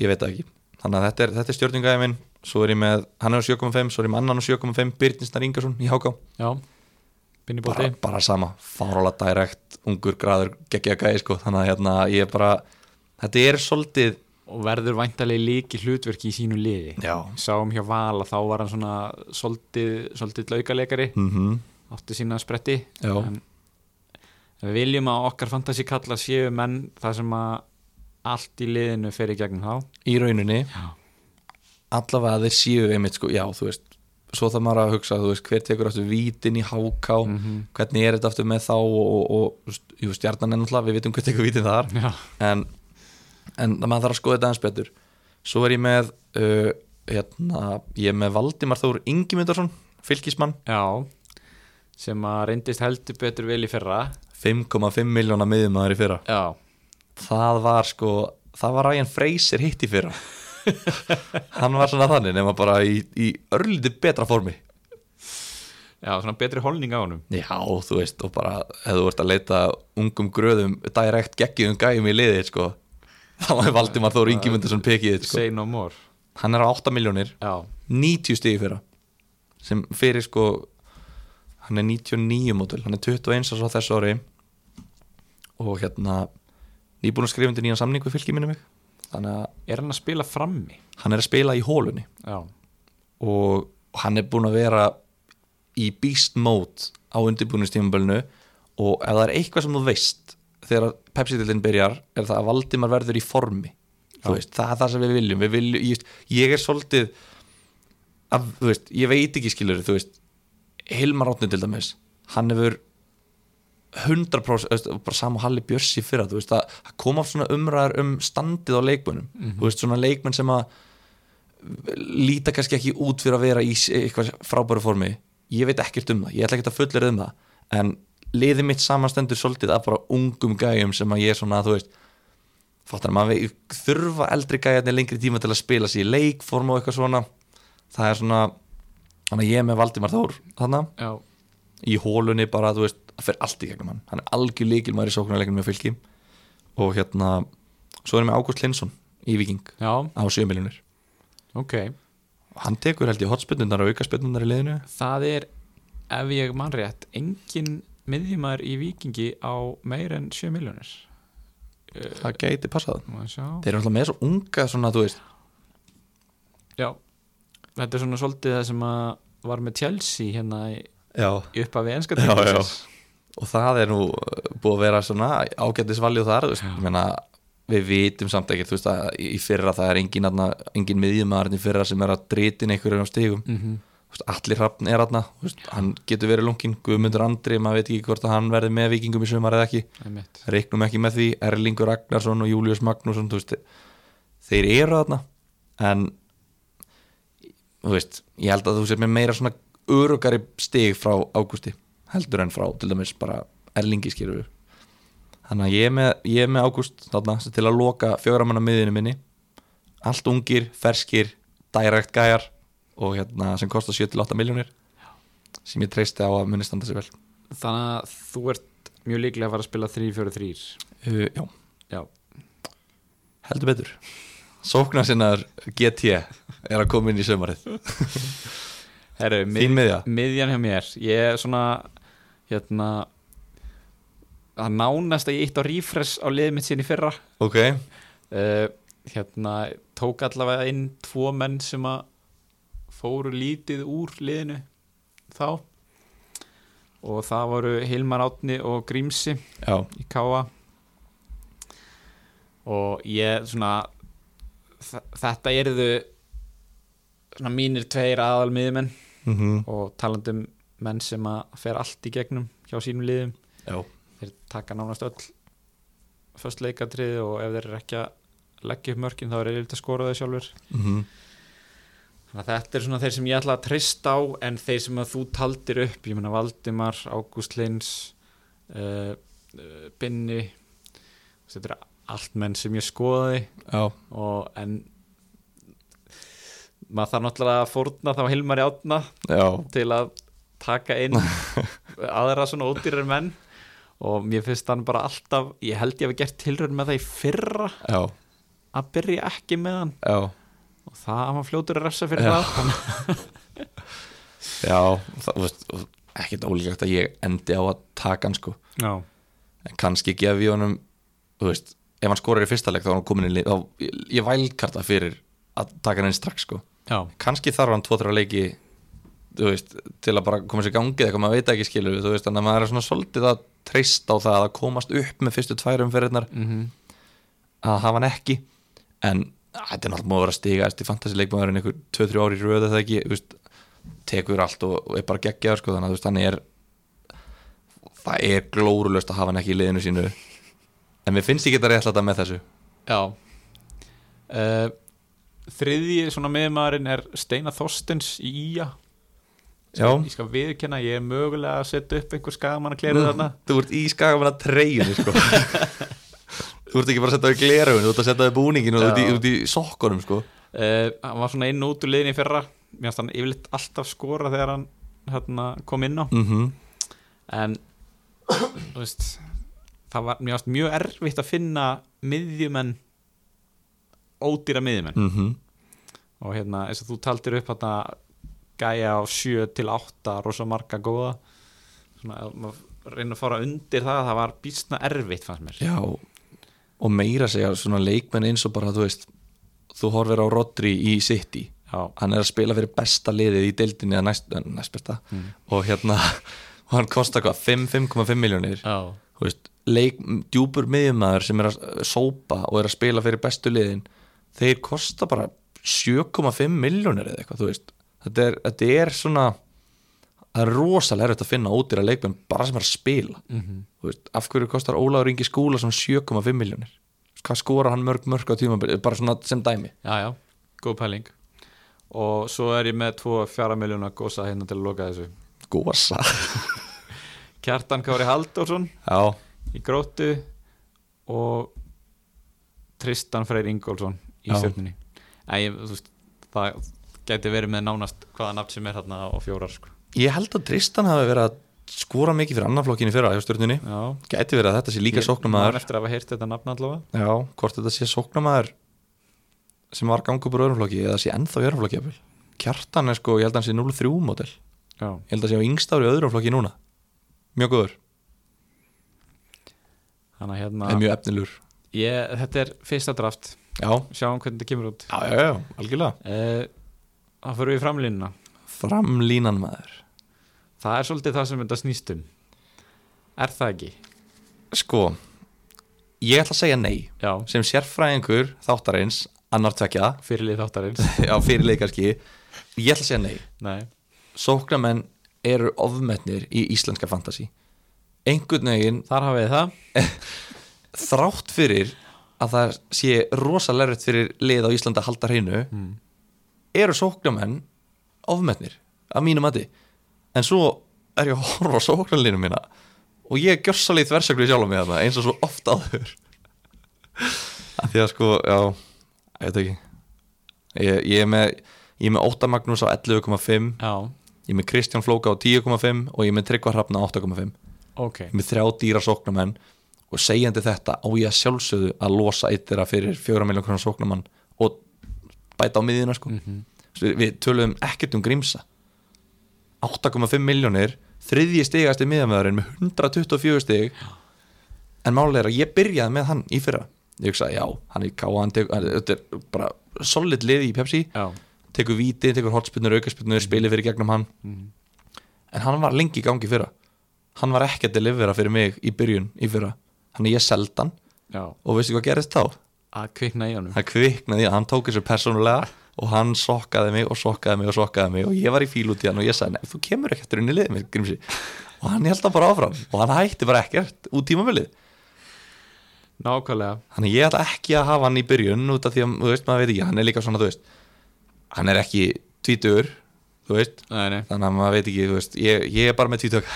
ég veit það ekki, þannig að þetta er, þetta er stjórningæði minn svo er ég með, hann er á 7.5 svo er ég með annan á 7.5, Byrninsnar Ingarsson í háká
já Binni
bara,
bóti,
bara sama, fárála direkt ungur graður geggja gæði sko þannig að hérna, ég er bara þetta er svolítið
og verður væntalegi líki hlutverki í sínu liði
já,
sáum hjá Val að þá var hann svona soldið, soldið laukalegari
mm
átti sína spretti
Já.
en við viljum að okkar fantasi kalla séu menn það sem að allt í liðinu fer í gegnum þá
í rauninni
Já.
allavega þeir séu einmitt sko, já þú veist svo það maður að hugsa, þú veist, hver tekur aftur vítin í háká, hvernig er þetta aftur með þá og, og, og þú veist, jú, stjarnan er náttúrulega, við vitum hver tekur vítin þar
*laughs* Já.
en, en maður þarf að skoða þetta aðeins betur svo er ég með uh, hérna, ég er með Valdimar Þór Ingimundarsson, fylgismann
Já, sem að reyndist heldur betur vel í fyrra
5,5 miljóna miðumæður í fyrra
Já,
það var sko það var Ryan Fraser hitt í fyrra *laughs* hann var svona þannig nema bara í, í örlítið betra formi
já svona betri holning á honum
Já, þú veist, og bara ef þú ert að leita ungum gröðum direkt geggjum gæjum í liðið, sko þá er Valdimar Þór Ingimundarsson pekið sko.
Say no more
hann er á 8 miljónir
Já,
90 stigi fyrra sem fyrir sko hann er 99 mótil, hann er 21 árs á þessu ári og hérna nýbúin að skrifa undir nýjan samning við fylgjum minni mig þannig að
er hann að spila frammi?
hann er að spila í hólunni
Já,
og hann er búin að vera í beast mode á undirbúinistímabölinu og ef það er eitthvað sem þú veist þegar Pepsi-dildin byrjar er það að Valdimar verður í formi þú veist, það er það sem við viljum, við viljum ég, veist, ég er svolítið að, þú veist, ég veit ekki skilur þú veist, Hilmar Átni til dæmis hann hefur 100% þú veist, bara saman Halli Björns í fyrra þú veist, að, að koma svona umræðar um standið á leikmönnum, þú veist, svona leikmenn sem að líta kannski ekki út fyrir að vera í s- eitthvað frábæru formi ég veit ekkert um það, ég ætla ekkert að fullir um það en liðið mitt samanstendur svolítið af bara ungum gæjum sem að ég er svona þú veist fattar maður vei- þurfa eldri gæjarnir lengri tíma til að spila sér í leikform og eitthvað svona það er svona þannig að ég er með Valdimar Þór þarna
já,
í hólunni bara, þú veist, það fer allt í gegnum hann hann er algjör líkil maður í sóknarleikinu með fylki og hérna svo erum við Ágúst Linsson í Viking
já,
á 7 miljonir
ok
hann tekur held ég hotspinnunar og aukaspinnunar í liðinu
Það er, ef ég man rétt engin miðjumar í vikingi á meir en 7 miljónir
það gæti passað
Má ég sjá
þeir eru alltaf með svo unga svona, þú veist
Já, þetta er svona svolítið það sem að var með Chelsea hérna í
já.
í upphafi enska
Já,
tímabilsins.
og það er nú uh, búið að vera svona ágættisvalju þar þú veist, ég meina, við vitum samt ekkert þú veist, að í í fyrra það er engin, aðna, engin miðjumæðarinn í fyrra sem er að dritin einhverjum á stigum
Mhm.
Þú veist, Allir Hrafn er aðna, veist, hann getur verið lungin Guðmundur Andri, maður veit ekki hvort að hann verði með vikingum í sumar eða ekki
Einmitt.
reiknum ekki með því Erlingur Ragnarsson og Július Magnússon þú veist, þeir eru þarna en þú veist, ég held að þú sér með meira svona örugari stig frá Ágústi heldur en frá til dæmis bara Erlingi skilur við þannig að ég er með, ég er með Ágúst þarna sem til að loka fjögramanna miðinu minni allt ungir, ferskir direct gæjar og hérna sem kostar 7-8 miljónir sem ég treysti á að muni standa sér vel
Þannig að þú ert mjög líklega að fara að spila 3-4-3
uh, Já
Já,
Heldur betur Sóknarsinnar GT er að koma inn í sömarið
herru, mið,
Þín miðja
miðjan hjá mér Ég er svona hérna að nánast að ég eitt á refresh á liðið mitt sín í fyrra
Ok,
uh, hérna, tók allavega inn tvo menn sem að fóru lítið úr liðinu þá og það voru Hilmar Átni og Grímsi
já,
í Káa og ég svona þ- þetta erðu svona mínir tveir aðal miðumenn
mm
og talandum menn sem að fer allt í gegnum hjá sínum liðum
já.
þeir taka nánast öll föst leikatriði og ef þeir eru ekki að leggja upp mörkin þá er þeir að skora þau sjálfur
Mm
þannig að þetta er svona þeir sem ég ætla að treysta á en þeir sem að þú taldir upp ég meina Valdimar, Ágúst Lins uh, uh, Binni þetta er allt menn sem ég skoði
já
og en maður þarf náttúrulega að fórna þá Hilmari Átna
Já,
til að taka inn aðra svona ódýrar menn og mér finnst hann bara alltaf ég held ég hafi gert tilraun með það í fyrra
já,
að byrja ekki með hann
já,
og það hann var fljótur að refsa fyrir
Já.
það hann,
já það, þú veist, og ekkert ólíklegt að ég endi á að taka hann sko
já,
en kannski gef ég honum þú veist, ef hann skorar í fyrsta leik þá er hann komin í lið, þá ég, ég vælkarta fyrir að taka hann inn strax sko
já,
kannski þarf hann tvo-þrjá leiki þú veist, til að bara koma sér í gangi eða maður veit ekki skilur við, þú veist, þannig að maður er svona svolítið að treysta á það að komast upp með fyrstu tværum fyrirnar
mm
að hafa hann ekki en að, þetta er náttúrulega múið að vera stiga eftir fantasileikmaðurinn einhver 2-3 ári í röð eða ekki þú veist, tekur allt og, og er bara geggjaður sko, þannig að þú veist, hann er það er glórulöst að hafa hann ekki í liðinu sínu en mér finnst ég geta réttlæta með þessu
já. Uh, þriðji svona meðmaðurinn er Steina Þorstens í Ía sem
Já.
ég skal viðkenna, ég er mögulega að setja upp einhver skagamann að klera þarna
þú ert í skagamanna
*laughs*
treyjunni sko. þú ert ekki bara að setja á í gleraugun þú ert að setja á í búningin og þú ert í,
Já.
út í sokkunum sko.
uh, hann var svona inn og út úr liðin í fyrra mér fannst hann yfirleitt alltaf skora þegar hann hérna, kom inn á
mm
en þú veist, það var mér fannst mjög erfitt að finna miðjumenn ódýra miðjumenn og hérna eins og þú taldir upp hérna gæja á 7 til 8 rosa marga góða svona ef maður reyna að fara undir það það var býstna erfitt fannst mér
já og meira að segja svona leikmenn eins og bara þú veist þú horfir á Rodri í City
já,
hann er að spila fyrir besta liðið í deildinni eða næst, eh, næst besta
Mm.
og hérna *laughs* og hann kostar hvað 5, 5,5 miljónir
já,
þú veist, leik, djúpur miðjumæður sem er að sópa og er að spila fyrir bestu liðin þeir kosta bara 7,5 miljónir eða eitthvað, þú veist þetta er, þetta er svona það er rosalega erfitt að finna ódýra leikmenn bara sem er að spila þú veist, af hverju kostar Ólaður Ingi Skúla svona 7,5 miljónir hvað skorar hann mörg mörg á tíma bara svona sem dæmi
já, já, góð pæling og svo er ég með 2-4 miljónu að gósa hérna til að loka þessu
gósa
Kjartan Kári Halldórsson
já,
í gróttu og Tristan Freyr Ingólfsson í
Já.
stjórninni en ég, þú veist, það gæti verið með nánast hvaða nafn sem er hérna og fjórar sko.
ég held að Tristan hafi verið að skora mikið fyrir annarflokkinu fyrra hjá stjórnunni
já,
gæti verið að þetta sé líka
Ég
sóknumæður
man eftir að hafa heyrt þetta nafn allavega
Já, hvort þetta sé sóknamaður sem var gangu bara örumflokki eða sé ennþá í örumflokki jafnvel. Kjartan er sko, ég held að hann sé 0-3 mótel ég
já.
held að sé á yngsta ári í öðrumflokki núna mjög góður,
þannig að hérna,
en mjög efnilur
ég, þetta er fyrsta draft
Já,
sjáum hvernig þetta kemur út
já, já, já, algjörlega
Eh, þá fyrir við í framlínuna
Framlínan maður
það er svolítið það sem þetta snýst um er það ekki?
Sko, ég ætla að segja nei
já,
sem sérfræðingur þáttarins annar *laughs* tvekja,
fyrirlið þáttarins
já, fyrirleikarski ég ætla að segja nei
nei,
Sóknamenn eru ofmetnir í íslenska fantasi einhvern veginn
þar hafið þið það
þrátt fyrir að það sé rosalega erfitt fyrir lið á Íslanda að halda hreinu
Mm.
eru sóknamenn ofmennir að mínu mati en svo er ég að horfa á sóknarlinu mína og ég gjör svolítið þversöklu sjálf með þarna eins og svo oft áður að því að sko já, ég veit ekki ég, ég er með ég er með Óttar Magnús á 11,5
já,
ég er með Kristján Flóka á 10,5 og ég er með Tryggvar Hrafna á 8,5
ok
með þrjá dýra sóknarmenn og segjandi þetta á ég að sjálfsögðu að losa eitt þeirra fyrir fjóra miljón krónar sóknarmann og bæta á miðjuna sko. Svo við, við töluðum ekkert um grímsa 8,5 miljónir þriðji stigast í miðjumöðurinn með 124 stig en málega er að ég byrjaði með hann í fyrra ég hugsaði já, hann er í káa hann tekur, hann- þetta er bara solid liði í Pepsi
já,
tekur víti, tekur hotspinnur, aukaspinnur, spilið fyrir gegnum hann
Mhm.
en hann var lengi í gangi í fyrra hann var ekki að delivera fyrir mig í byrjun í fyrra, hann er ég seldan
já,
og veistu hvað gerist þá?
að kvikna í honum
hann kviknaði, að hann tók þessu persónulega og hann sokkaði mig og sokkaði mig og sokkaði mig og ég var í fíl út í hann og ég sagði "Nei, þú kemur ekki eftir inn í liðið mér, Grímsi og hann held það bara áfram og hann hætti bara ekkert út tímabilið
nákvæmlega,
þannig að ég ætla ekki að hafa hann í byrjun út af því að, þú veist, maður veit ekki, hann er líka svona, þú veist hann er ekki tvítur þú veist,
nei nei,
þannig að maður veit ekki, þú veist ég, ég er bara með tvítök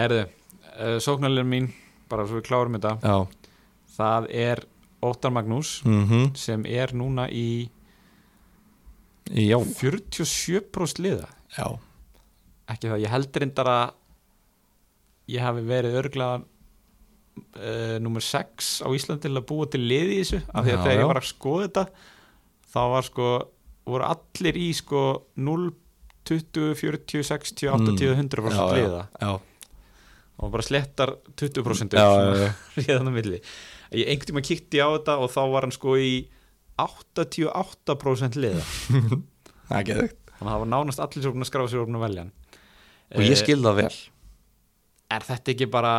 herðu uh, sóknarlegin mín, bara svo við klárum þetta
*laughs* já,
það er Óttar Magnús
mm
sem er núna í
já,
47% liða
já
ekki það, ég held reyndar að ég hafi verið örglega uh, nummer 6 á Íslandi til að búa til lið í þessu af því að
Já,
þegar
já.
ég var að skoða þetta þá var sko, voru allir í sko 0, 20, 40, 60, 80, 100%
Mm. Já, já,
liða
já,
og bara slettar 20% upp
já,
svona, *laughs*
já, já.
liðan á milli ég einhvern tíma kíkti á þetta og þá var hann sko í 88% liða
Það er geðveikt.
þannig að það var nánast allir sem voru búin að skráfa sér og búin að velja hann
og ég
Eh,
skil það vel
er þetta ekki bara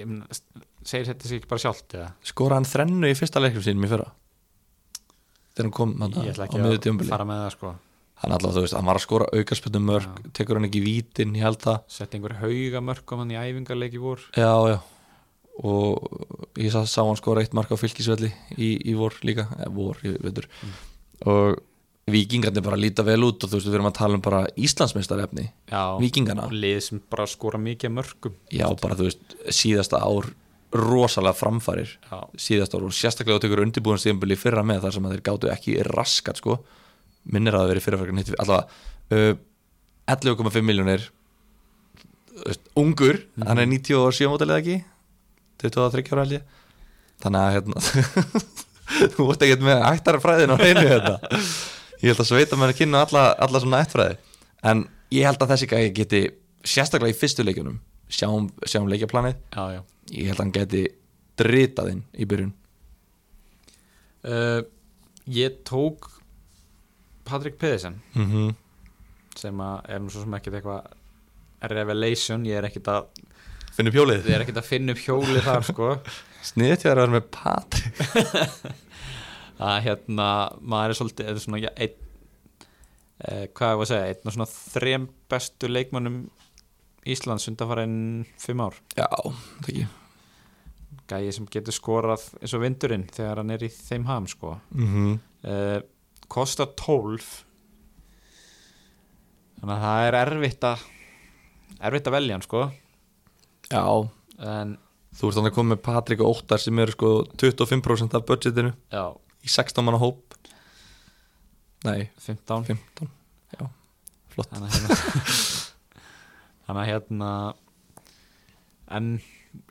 ég meina, s- segir þetta sér ekki bara sjálft eða?
skora hann þrennu í fyrsta leikum sínum í fyrra þegar hann kom hann,
ég ætla
á
ekki
miður
að
tímbili
fara með það sko
hann alltaf þú veist, hann var að skora aukarspöndum mörg tekur hann ekki vítin, ég held það
setja einhver hauga mörgum hann í æfingarleiki vor
já, já og ég sá, sá hann skora eitt mark á fylkisvelli í, í vor líka, eða vor, ég veitur
Mm.
og vikingarnir bara líta vel út og þú veist, við erum að tala um bara Íslandsmeistarefni,
já,
vikingana
og lið sem bara skora mikið af mörgum
já, bara þú veist, síðasta ár rosalega framfarir
já,
síðasta ár og sérstaklega þú tekur undirbúðan stíðanbili fyrra með þar sem að þeir gátu ekki raskat sko, minnir að það hafi verið fyrirfækkan hitt allavega uh, 11,5 miljónir ungur, hann er 97 mótilega ekki 23 ára held ég þannig að hérna *laughs* þú vart ekkert með ættarfræðin á reynu þetta ég held að sveita mér að kynna alla, alla svona ættfræði en ég held að þessi gæði geti sérstaklega í fyrstu leikjunum sjáum, sjáum leikjaplanið
já, já
ég held að hann geti dritað inn í byrjun
uh, ég tók Patrik Pedersen
mm -hmm.
sem að er nú svo sem ekkert eitthvað revelation, ég er ekkert að
finnum pjólið
ég er ekkert að finna upp hjóli þar sko
sniðið til að vera með Patrik
að hérna maður er svolítið eða svona ja, ein, eh, hvað ég var að segja, einn af svona þrem bestu leikmönnum Íslands undanfærin fimm ár
já, það ekki
gæi sem getur skorað eins og vindurinn þegar hann er í þeim ham sko
mm -hmm.
uh, kostar 12 þannig að það er erfitt að erfitt að velja hann sko
já,
en
þú ert þannig að koma með Patrik og Óttar sem eru sko 25% af budgetinu
já,
í 16 manna hóp nei,
15
15 já, flott
þannig að hérna *laughs* þannig að hérna en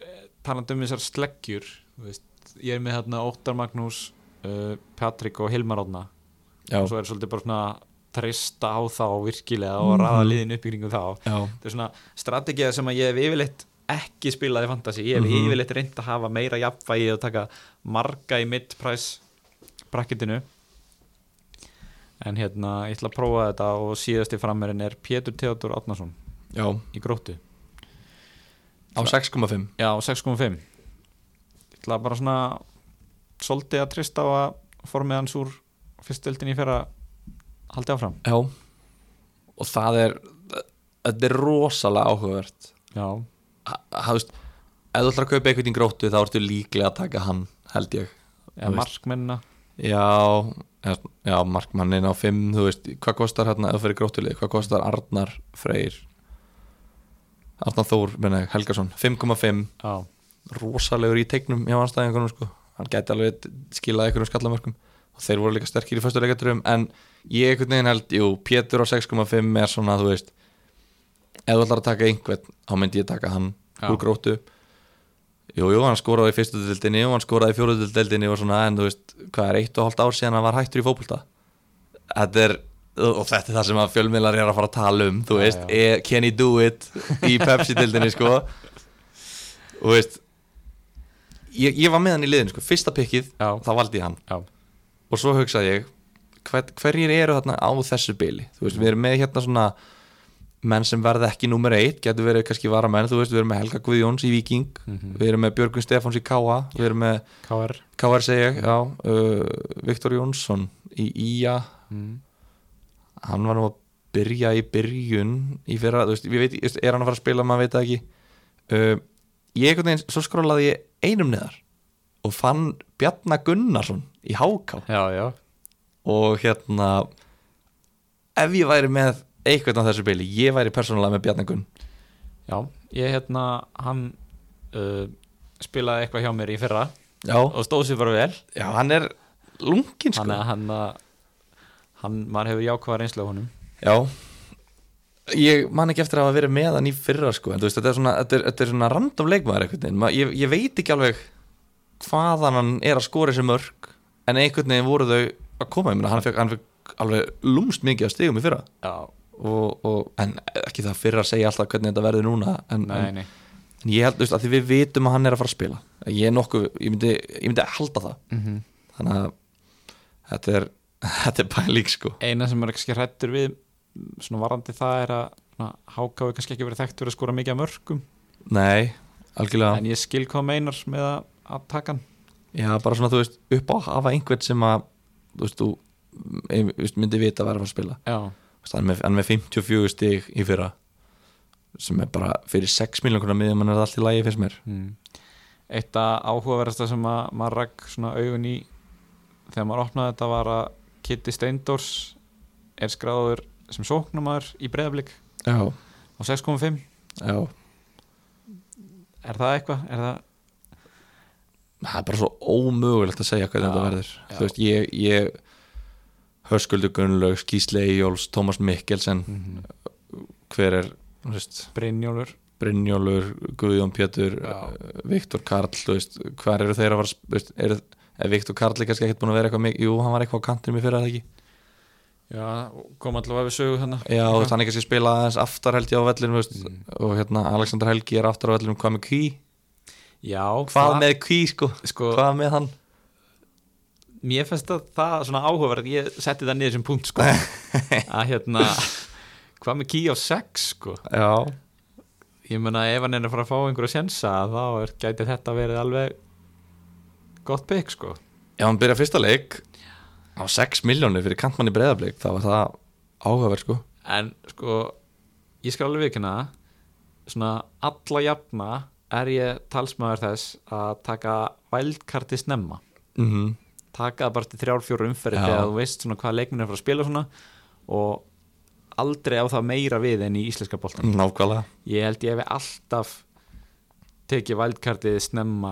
eh, talandi um þessar sleggjur þú veist, ég er með hérna Óttar Magnús uh, Patrik og Hilmar Ótna
já,
og svo er svolítið bara svona treysta á þá virkilega og ræða liðin upp í kringum þá
já,
þetta er svona strategið sem að ég hef yfirleitt ekki spilaði fantasy, ég hef
Mhm.
yfirleitt reynd að hafa meira jafnvægi og taka marga í mid-price bracketinu en hérna, ég ætla að prófa þetta og síðasti frammerin er Pétur Theodor Átnason
já
í gróttu
á 6,5
já, 6.5 ég ætla bara svona svolítið að trista á að formið hans úr fyrstöldin í fyrra haldi áfram
já, og það er þetta er rosalega áhugavert
já,
hafðu veist ef þú ætlar að kaupa eitthvað í gróttu þá ertu líklega að taka hann held ég
eða
Þú veist.
markmennina
Já, eða svona- já markmannin á 5 þú veist, hvað kostar hérna eða fyrir gróttulið, hvað kostar Arnar Freyr Arnar Þór menna, ég, Helgason, 5,5
já,
rosalegur í teiknum hjá anstæðingunum sko. hann gæti alveg skilað einhverjum skallamörkum og þeir voru líka sterkir í fyrstu leikaturum en ég einhvern veginn held, jú, Pétur á 6,5 er svona, þú veist ef þú ætlar að taka einhvern, þá myndi ég taka hann
Já.
úr gróttu Jú, jú, hann skoraði í fyrstu dildinni og hann skoraði í fjóruðu dildinni og svona, en þú veist, hvað er eitt og hálft ár síðan hann var hættur í fótbolta Þetta er, og þetta er það sem að fjölmiðlar er að fara að tala um, þú
Já,
veist
já.
Er, Can he do it í Pepsi dildinni, sko Og veist ég, ég var með hann í liðinu, sko, fyrsta pikkið
já,
þá valdi ég hann
já,
og svo hugsaði ég hver, hverjir eru þarna á þessu bili þú veist, við erum með hérna svona menn sem verða ekki númer eitt, getur verið kannski varamenn, þú veist, við erum með Helga Guðjóns í Viking
Mhm.
við erum með Björgun Stefáns í Káa við erum með
KR
Káar segja E, já, uh, Viktor Jónsson í Ía
mm.
hann var nú að byrja í byrjun í fyrra, þú veist, ég veit, ég veist, er hann að fara að spila maður veit það ekki uh, ég einhvern veginn, svo skrólaði ég einum neðar og fann Bjarnar Gunnarsson í Háká
já, já,
og hérna ef ég væri með einhvern á þessu bili, ég væri persónulega með Bjarnar Gunn
Já, ég hérna, hann uh, spilaði eitthvað hjá mér í fyrra
já,
og stóð sér bara vel
já hann er lungin
uh,
sko
Þannig að hann, að- hann, maður hefur jákvæða reynslu á honum
já, ég man ekki eftir að hafa verið með hann í fyrra sko, en þú veist, þetta er svona, þetta er, þetta er svona random leikmaður einhvern veginn, Ma, ég, ég veit ekki alveg hvaðan hann er að skora þessi mörg, en einhvern veginn voru þau að koma, ég meina, hann fekk, hann fekk alveg lúmst mikið að stigum í fyrra
Já,
og, og, en ekki það fyrra að segja alltaf hvernig þetta verður núna, en,
nei,
en,
nei
en ég held, þú veist, að því við vitum að hann er að fara að spila, ég er nokkuð, ég myndi, ég myndi halda það,
mm
þannig að þetta er, *laughs* þetta er pælík sko,
Eina sem er kannski hrættur við svona varandi það er að svona, hákáðu kannski ekki verið þekkt fyrir að skora mikið að mörgum
nei, algjörlega.
en ég skil hvað þú meinar með að, að taka hann
Já, bara svona, þú veist, upp á að hafa einhvern sem að, þú veist, þú ein- þú veist, myndi vita að vera að fara að spila
Já,
Þú veist, hann er með, hann er með 54 stig í fyrra sem er bara fyrir 6 miljón konar miðjum hann er það allt í lagi fyrst mér
Mm. Eitt að áhugaverðasta sem að maður rakk svona augun í þegar maður opnaði þetta var að Kitty Steindors er skráður sem sóknumar í breyðablík
Já,
á 6.5
já
er það eitthvað? Er það...
Það er bara svo ómögulegt að segja hvernig
Já,
þetta verður
já.
Þú veist, ég, ég Hörskuldur Gunnlaug, Gísle Jóls, Tómas Mikkelsen
Mhm.
hver er, þú veist,
Brynjólfur
Brynjólfur, Guðjón Pétur
Já.
eh, Viktor Karl þú veist, hvar eru þeir að fara að sp- þú veist, eru, er Viktor Karl er kannski ekkert búin að vera eitthvað mikið, jú, hann var eitthvað á kantinum í fyrra er það ekki
Já, kom allavega við sögu þannig
já, þú veist, hann er kannski að spila aðeins aftar held ég á vellinum, þú veist, og hérna Alexander Helgi er aftar á vellinum, hvað með kví
Já,
hvað
það-
með kví, sko,
sko,
hvað með hann
mér finnst að það svona áhugaverð ég setti það niður sem punkt
*laughs*
sko að hérna hvað með ký á 6 sko
já,
ég meina ef hann er að fara að fá einhverja sjensa þá er, gæti þetta verið alveg gott bygg sko
já, hann byrja fyrsta leik á 6 miljónir fyrir kantmann í breðablik þá var það áhugaverð, sko
en sko ég skal alveg vikina svona alla jafna er ég talsmaður þess að taka vældkarti snemma
mm
taka það bara til þrjár fjóru umferði
Já.
þegar þú veist svona hvað leikminn er að fara að spila og svona og aldrei á það meira við en í íslenska boltan
nákvæmlega
ég held ég hef alltaf tekið vældkartið snemma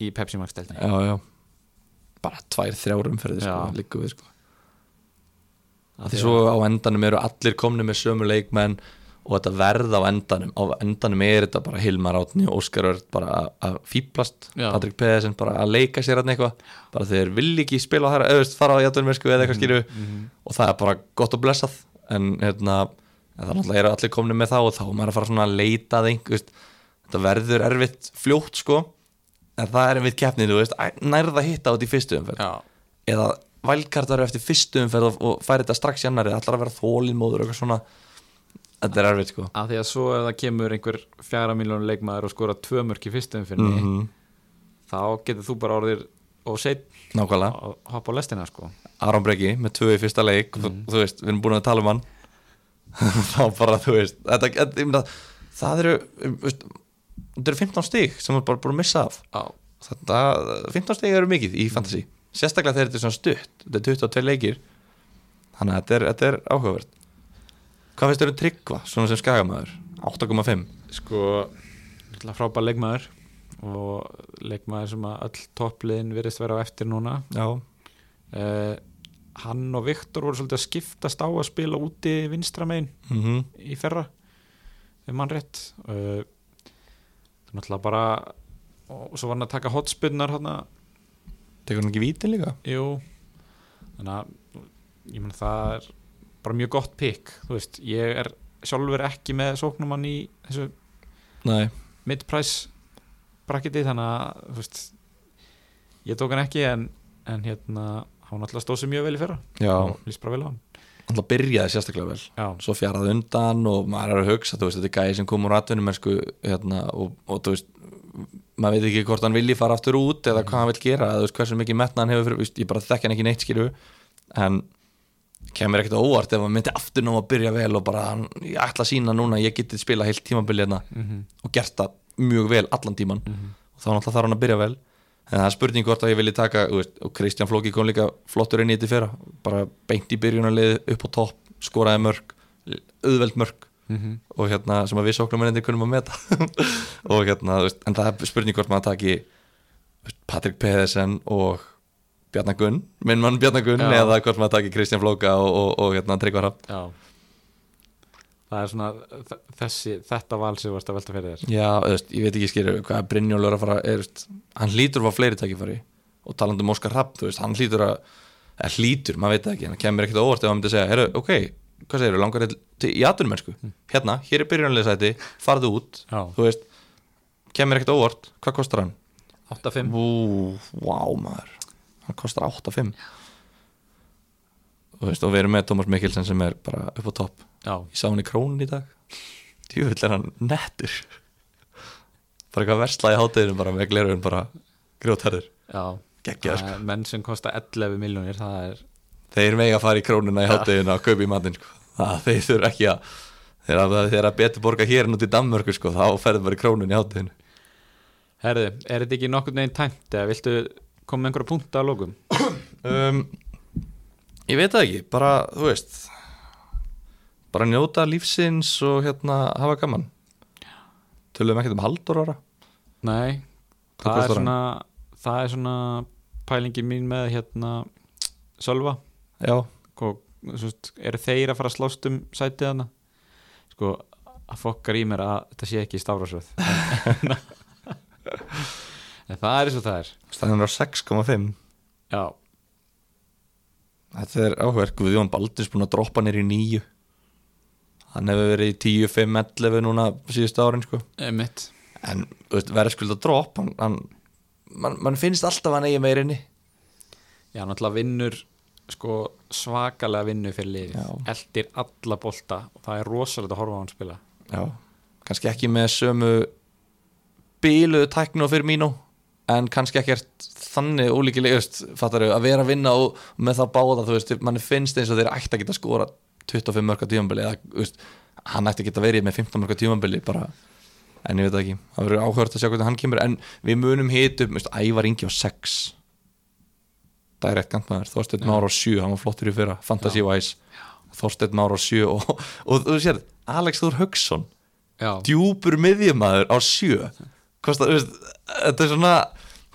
í Pepsi Max deltinni
já, já. bara tvær, þrjár umferðir, sko,
Já.
líku við, sko Af því svo á endanum eru allir komni með sömu leikmenn og þetta verð á endanum á endanum er þetta bara Hilmar Átni og Óskar Örd bara að- að fýblast
Já.
Patrik Pedersen bara að leika sér hann eitthvað bara þeir vilja ekki spila þar eða fara á játtunmerku eða eitthvað skýru og það er bara gott og blessað en hérna en það náttúrulega eru allir komni með það og þá er maður að fara svona að leita að einhver veist, þetta verður erfitt fljótt sko en það er einmitt keppnið þú veist æ- nærða að hitta út í fyrstu umferð
já,
eða valkartar eftir fyrstu umferð og- og færi þetta strax í annari, ætlar að vera þólinmóður og eitthvað svona þetta er erfitt sko
af því að svo ef það kemur einhver fjara miljónu leikmaður og skora tvö mörk í fyrstum fyrir mig
Mhm.
þá getur þú bara orðir og seitt
nákvæmlega,
að hoppa á lestina sko
Aron Breki með tvö í fyrsta leik þú, þú veist, við erum búin að tala um hann *laughs* þá bara, þú veist þetta, þetta, ég meina, það eru um, veist, þetta eru 15 stig sem er bara búin að missa af
já,
þetta, 15 stig eru mikið í fantasy sérstaklega þegar þetta er svona stutt þetta er 22 leikir þannig að þetta er, þetta er áhugavert hvað finnst þér um tryggva, svona sem skagamæður 8,5
sko náttúrulega frábær leikmaður og leikmaður sem að öll toppliðin virðist vera á eftir núna
Já,
uh, hann og Viktor voru svolítið að skiptast á að spila úti vinstra megin
mm
í fyrra ef mann rétt uh, það er náttúrulega bara og svo var hann að taka hotspunnar hann
Tekur hann ekki víti líka?
jú þannig að ég meina það er bara mjög gott pick þú veist, ég er sjálfur ekki með sóknumann í þessu
Nei
mid-price bracketi þannig að þú veist, ég tók hann ekki en, en hérna hann alltaf stóð sér mjög vel í fyrra
Já,
og líst bara vel á hann
alltaf byrjaði sérstaklega vel
já,
Svo fjaraði undan og maður er að hugsa þú veist, Þetta er gæði sem kom úr atvinnum sko, hérna, og, og þú veist maður veit ekki hvort hann vilji fara aftur út eða hvað hann vil gera, eða þú veist hversu mikið metna hann hefur fyrir, veist, ég bara þekki hann ekki neitt skilju en kemur ekkert á óvart ef hann myndi aftur nú að byrja vel og bara hann, ég ætla að sína núna, að ég geti spila heilt tímabili hérna
Mhm,
og gert það mjög vel allan tíman og þá náttúrulega þarf hann að byrja vel en það er spurning hvort að ég vilji taka þú veist, og Kristján Flóki kom líka flottur inn í þetta í fyrra bara beint í byrjunarlið upp á topp skoraði mörg, auðveld mörg
mhm.
og hérna sem að við sóknarmennandi kunum að meta *laughs* og hérna, þú veist, en það er spurning hvort maður taki þú veist, Patrik Pedersen og Bjarnar Gunn, minn mann Bjarnar Gunn
Já.
eða hvort maður taki Kristján Flóka og, og, og hérna Tryggvar Hafn
já það er svona þ- þessi, þetta val sem þú varst að velta fyrir þér
Já, auðvist, ég veit ekki skilur hvað Brynjólfur er að fara er, veist, hann hlýtur að fá fleiri tækifæri og talandi um Óskar Rapp, þú veist, hann hlýtur að eða hlýtur, maður veit það ekki, hann kemur ekkert á óvart ef hann myndi að segja, heyrðu, ok, hvað segirðu langar þér til í atvinnumennsku, hérna, hér er byrjunleysæti farðu út,
Já.
þú veist kemur ekkert á óvart, hvað kostar hann
8-5
Ú, vá maður hann kostar 8-5 og, veist, og við erum með Tómas Mikkelsen sem er bara upp á topp
Já,
ég sá hann í krónun í dag djúvill er hann nettur bara eitthvað versla í hátæðinu bara með glerun bara grjótherður
já
Geggjaður,
Það er Menn sem kosta 11 miljónir það er,
þeir mega að fara í krónuna í hátæðinu að kaupa í matinn sko. það, þeir þurfa ekki að þeir að, þeir að betur borga hér en út í Danmörku sko, þá ferðu bara í krónun í hátæðinu
herðu, er þetta ekki nokkurn veginn tæmt eða viltu koma með einhverja punkt að lókum?
um, ég veit það ekki bara, þú veist bara njóta lífsins og hérna hafa gaman tölum ekkert um haldur ára
Nei,
Hvað
það er,
kostar hann?
svona, það er svona pælingi mín með hérna Sölva Sko,
já,
og svist, er þeir að fara að slást um sætið hana sko, að fokkar í mér að þetta sé ekki í stafrásröð *laughs* en það er eins og það er
stæðan er á 6,5
já,
Þetta er áhverð, Guðjón Baldins búin að droppa nýr í nýju Hann hefur verið í 10, 5, 11 núna síðustu árin sko
emitt
En þú veist, verðskulda dropp hann, hann, man, man finnst alltaf hann eigi meirinni
já, náttúrulega vinnur sko, svakalega vinnu fyrir liðið
Já.
eldir alla bolta og það er rosalega að horfa á hann spila
Já, kannski ekki með sömu bíluðu tæknu og fyrir mínu En kannski ekkert þannig ólíkilegust Fattar þau, að vera að vinna og með það báða Þú veist, mann finnst eins og þeir ætti að geta skora 25 mörka tímambili Eða, þú veist, hann ætti að geta verið með 15 mörka tímambili Bara en ég veit það ekki það verður áhört að sjá hvernig hann kemur en við munum hitu, veist, Ævar Ingi á 6 það er rétt gantmaður Þorsteinn Már á 7, hann var flottur í fyrra Fantasy Wise, Þorsteinn Már á 7 og, og þú sér, Alex Þór Hugson
já,
djúpur miðjumæður á 7 Kostar, þú veist, þetta er svona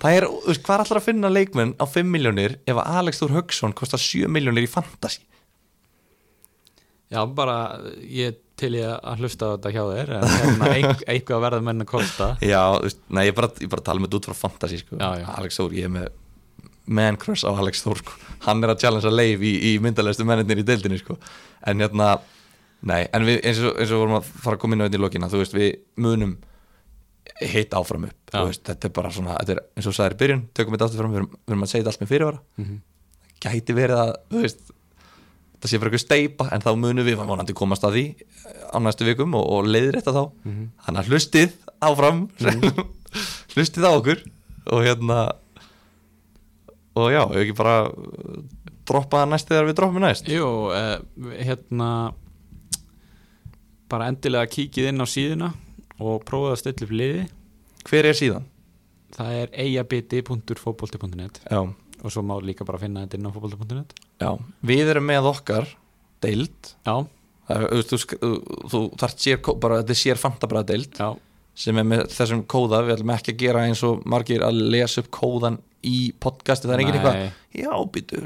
það er, þú veist, hvað er allra að finna leikmenn á 5 miljónir ef að Alex Þór Hugson kostar 7 miljónir í Fantasy
já bara ég til ég að hlusta á þetta hjá þér en hérna, *laughs* ein- eitthvað verða menn að kosta
Já, þú veist, nei, ég bara, ég bara tala með þetta út frá fantasy, sko.
Já, já.
Alex Þór, ég er með man crush á Alex Þór, sko. Hann er að challengea leif í, í myndalegstu mennirnir í deildinni, sko. En hérna, nei, en við, eins og, eins og vorum að fara að koma inn á þetta í lokina, þú veist, við munum hitt áfram upp,
Já.
þú veist, þetta er bara svona, þetta er eins og sagðir í byrjun, tökum þetta aftur fram, við erum, við erum að segja þetta allt með fyrirvara.
Mhm.
Gæti verið að, þú veist, það sé bara eitthvað steipa, en þá munum við vonandi komast að því eh, á næstu vikum og, og leiðir þetta þá. Þannig að hlustið áfram, *laughs* hlustið á okkur og hérna og já, ef ekki bara uh, droppa það næst þegar við droppum næst
Jú, uh, hérna bara endilega kíkið inn á síðuna og prófið að stilla upp liði
hver er síðan?
það er eigabiti.fótbolti.net
Já.
og svo má líka bara finna þetta inn á fótbolti.net
já, við erum með okkar deild
Já,
Það er, þú, veist, þú, sk- þú- þú þart sér kó- bara, þetta er sér fantabra deild
já,
sem er með þessum kóða, við ætlum ekki að gera eins og margir að lesa upp kóðan í podcasti, það er enginn
Nei.
eitthvað já, býtu,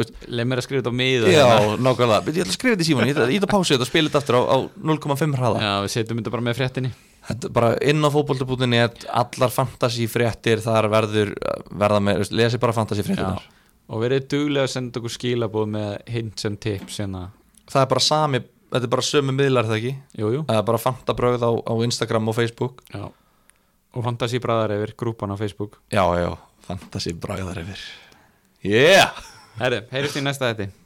veist,
leið mér að skrifa þetta á miða
já,
hérna.
nákvæmlega býtu, ég ætla að skrifa þetta í síman, ég ætla ég ætla að pása þetta og spila þetta aftur á, á 0,5 hraða
já, við setjum þetta bara með fréttinni
Þetta er bara inn á fótbolti.net allar fantasífréttir þar verður verða með, veist, lesi bara
já.
fantasífréttinar
og verið duglega að senda okkur skilabóð með hints and tips hérna.
Það er bara sami, þetta er bara sömu miðlar er það ekki
Jú, jú,
Það er bara fantabröð á, á Instagram og Facebook
já og fantasi bræðar yfir grúpan á Facebook
Já, já, fantasíbröðar yfir Yeah!
Herri, heyrjumst í næsta þetta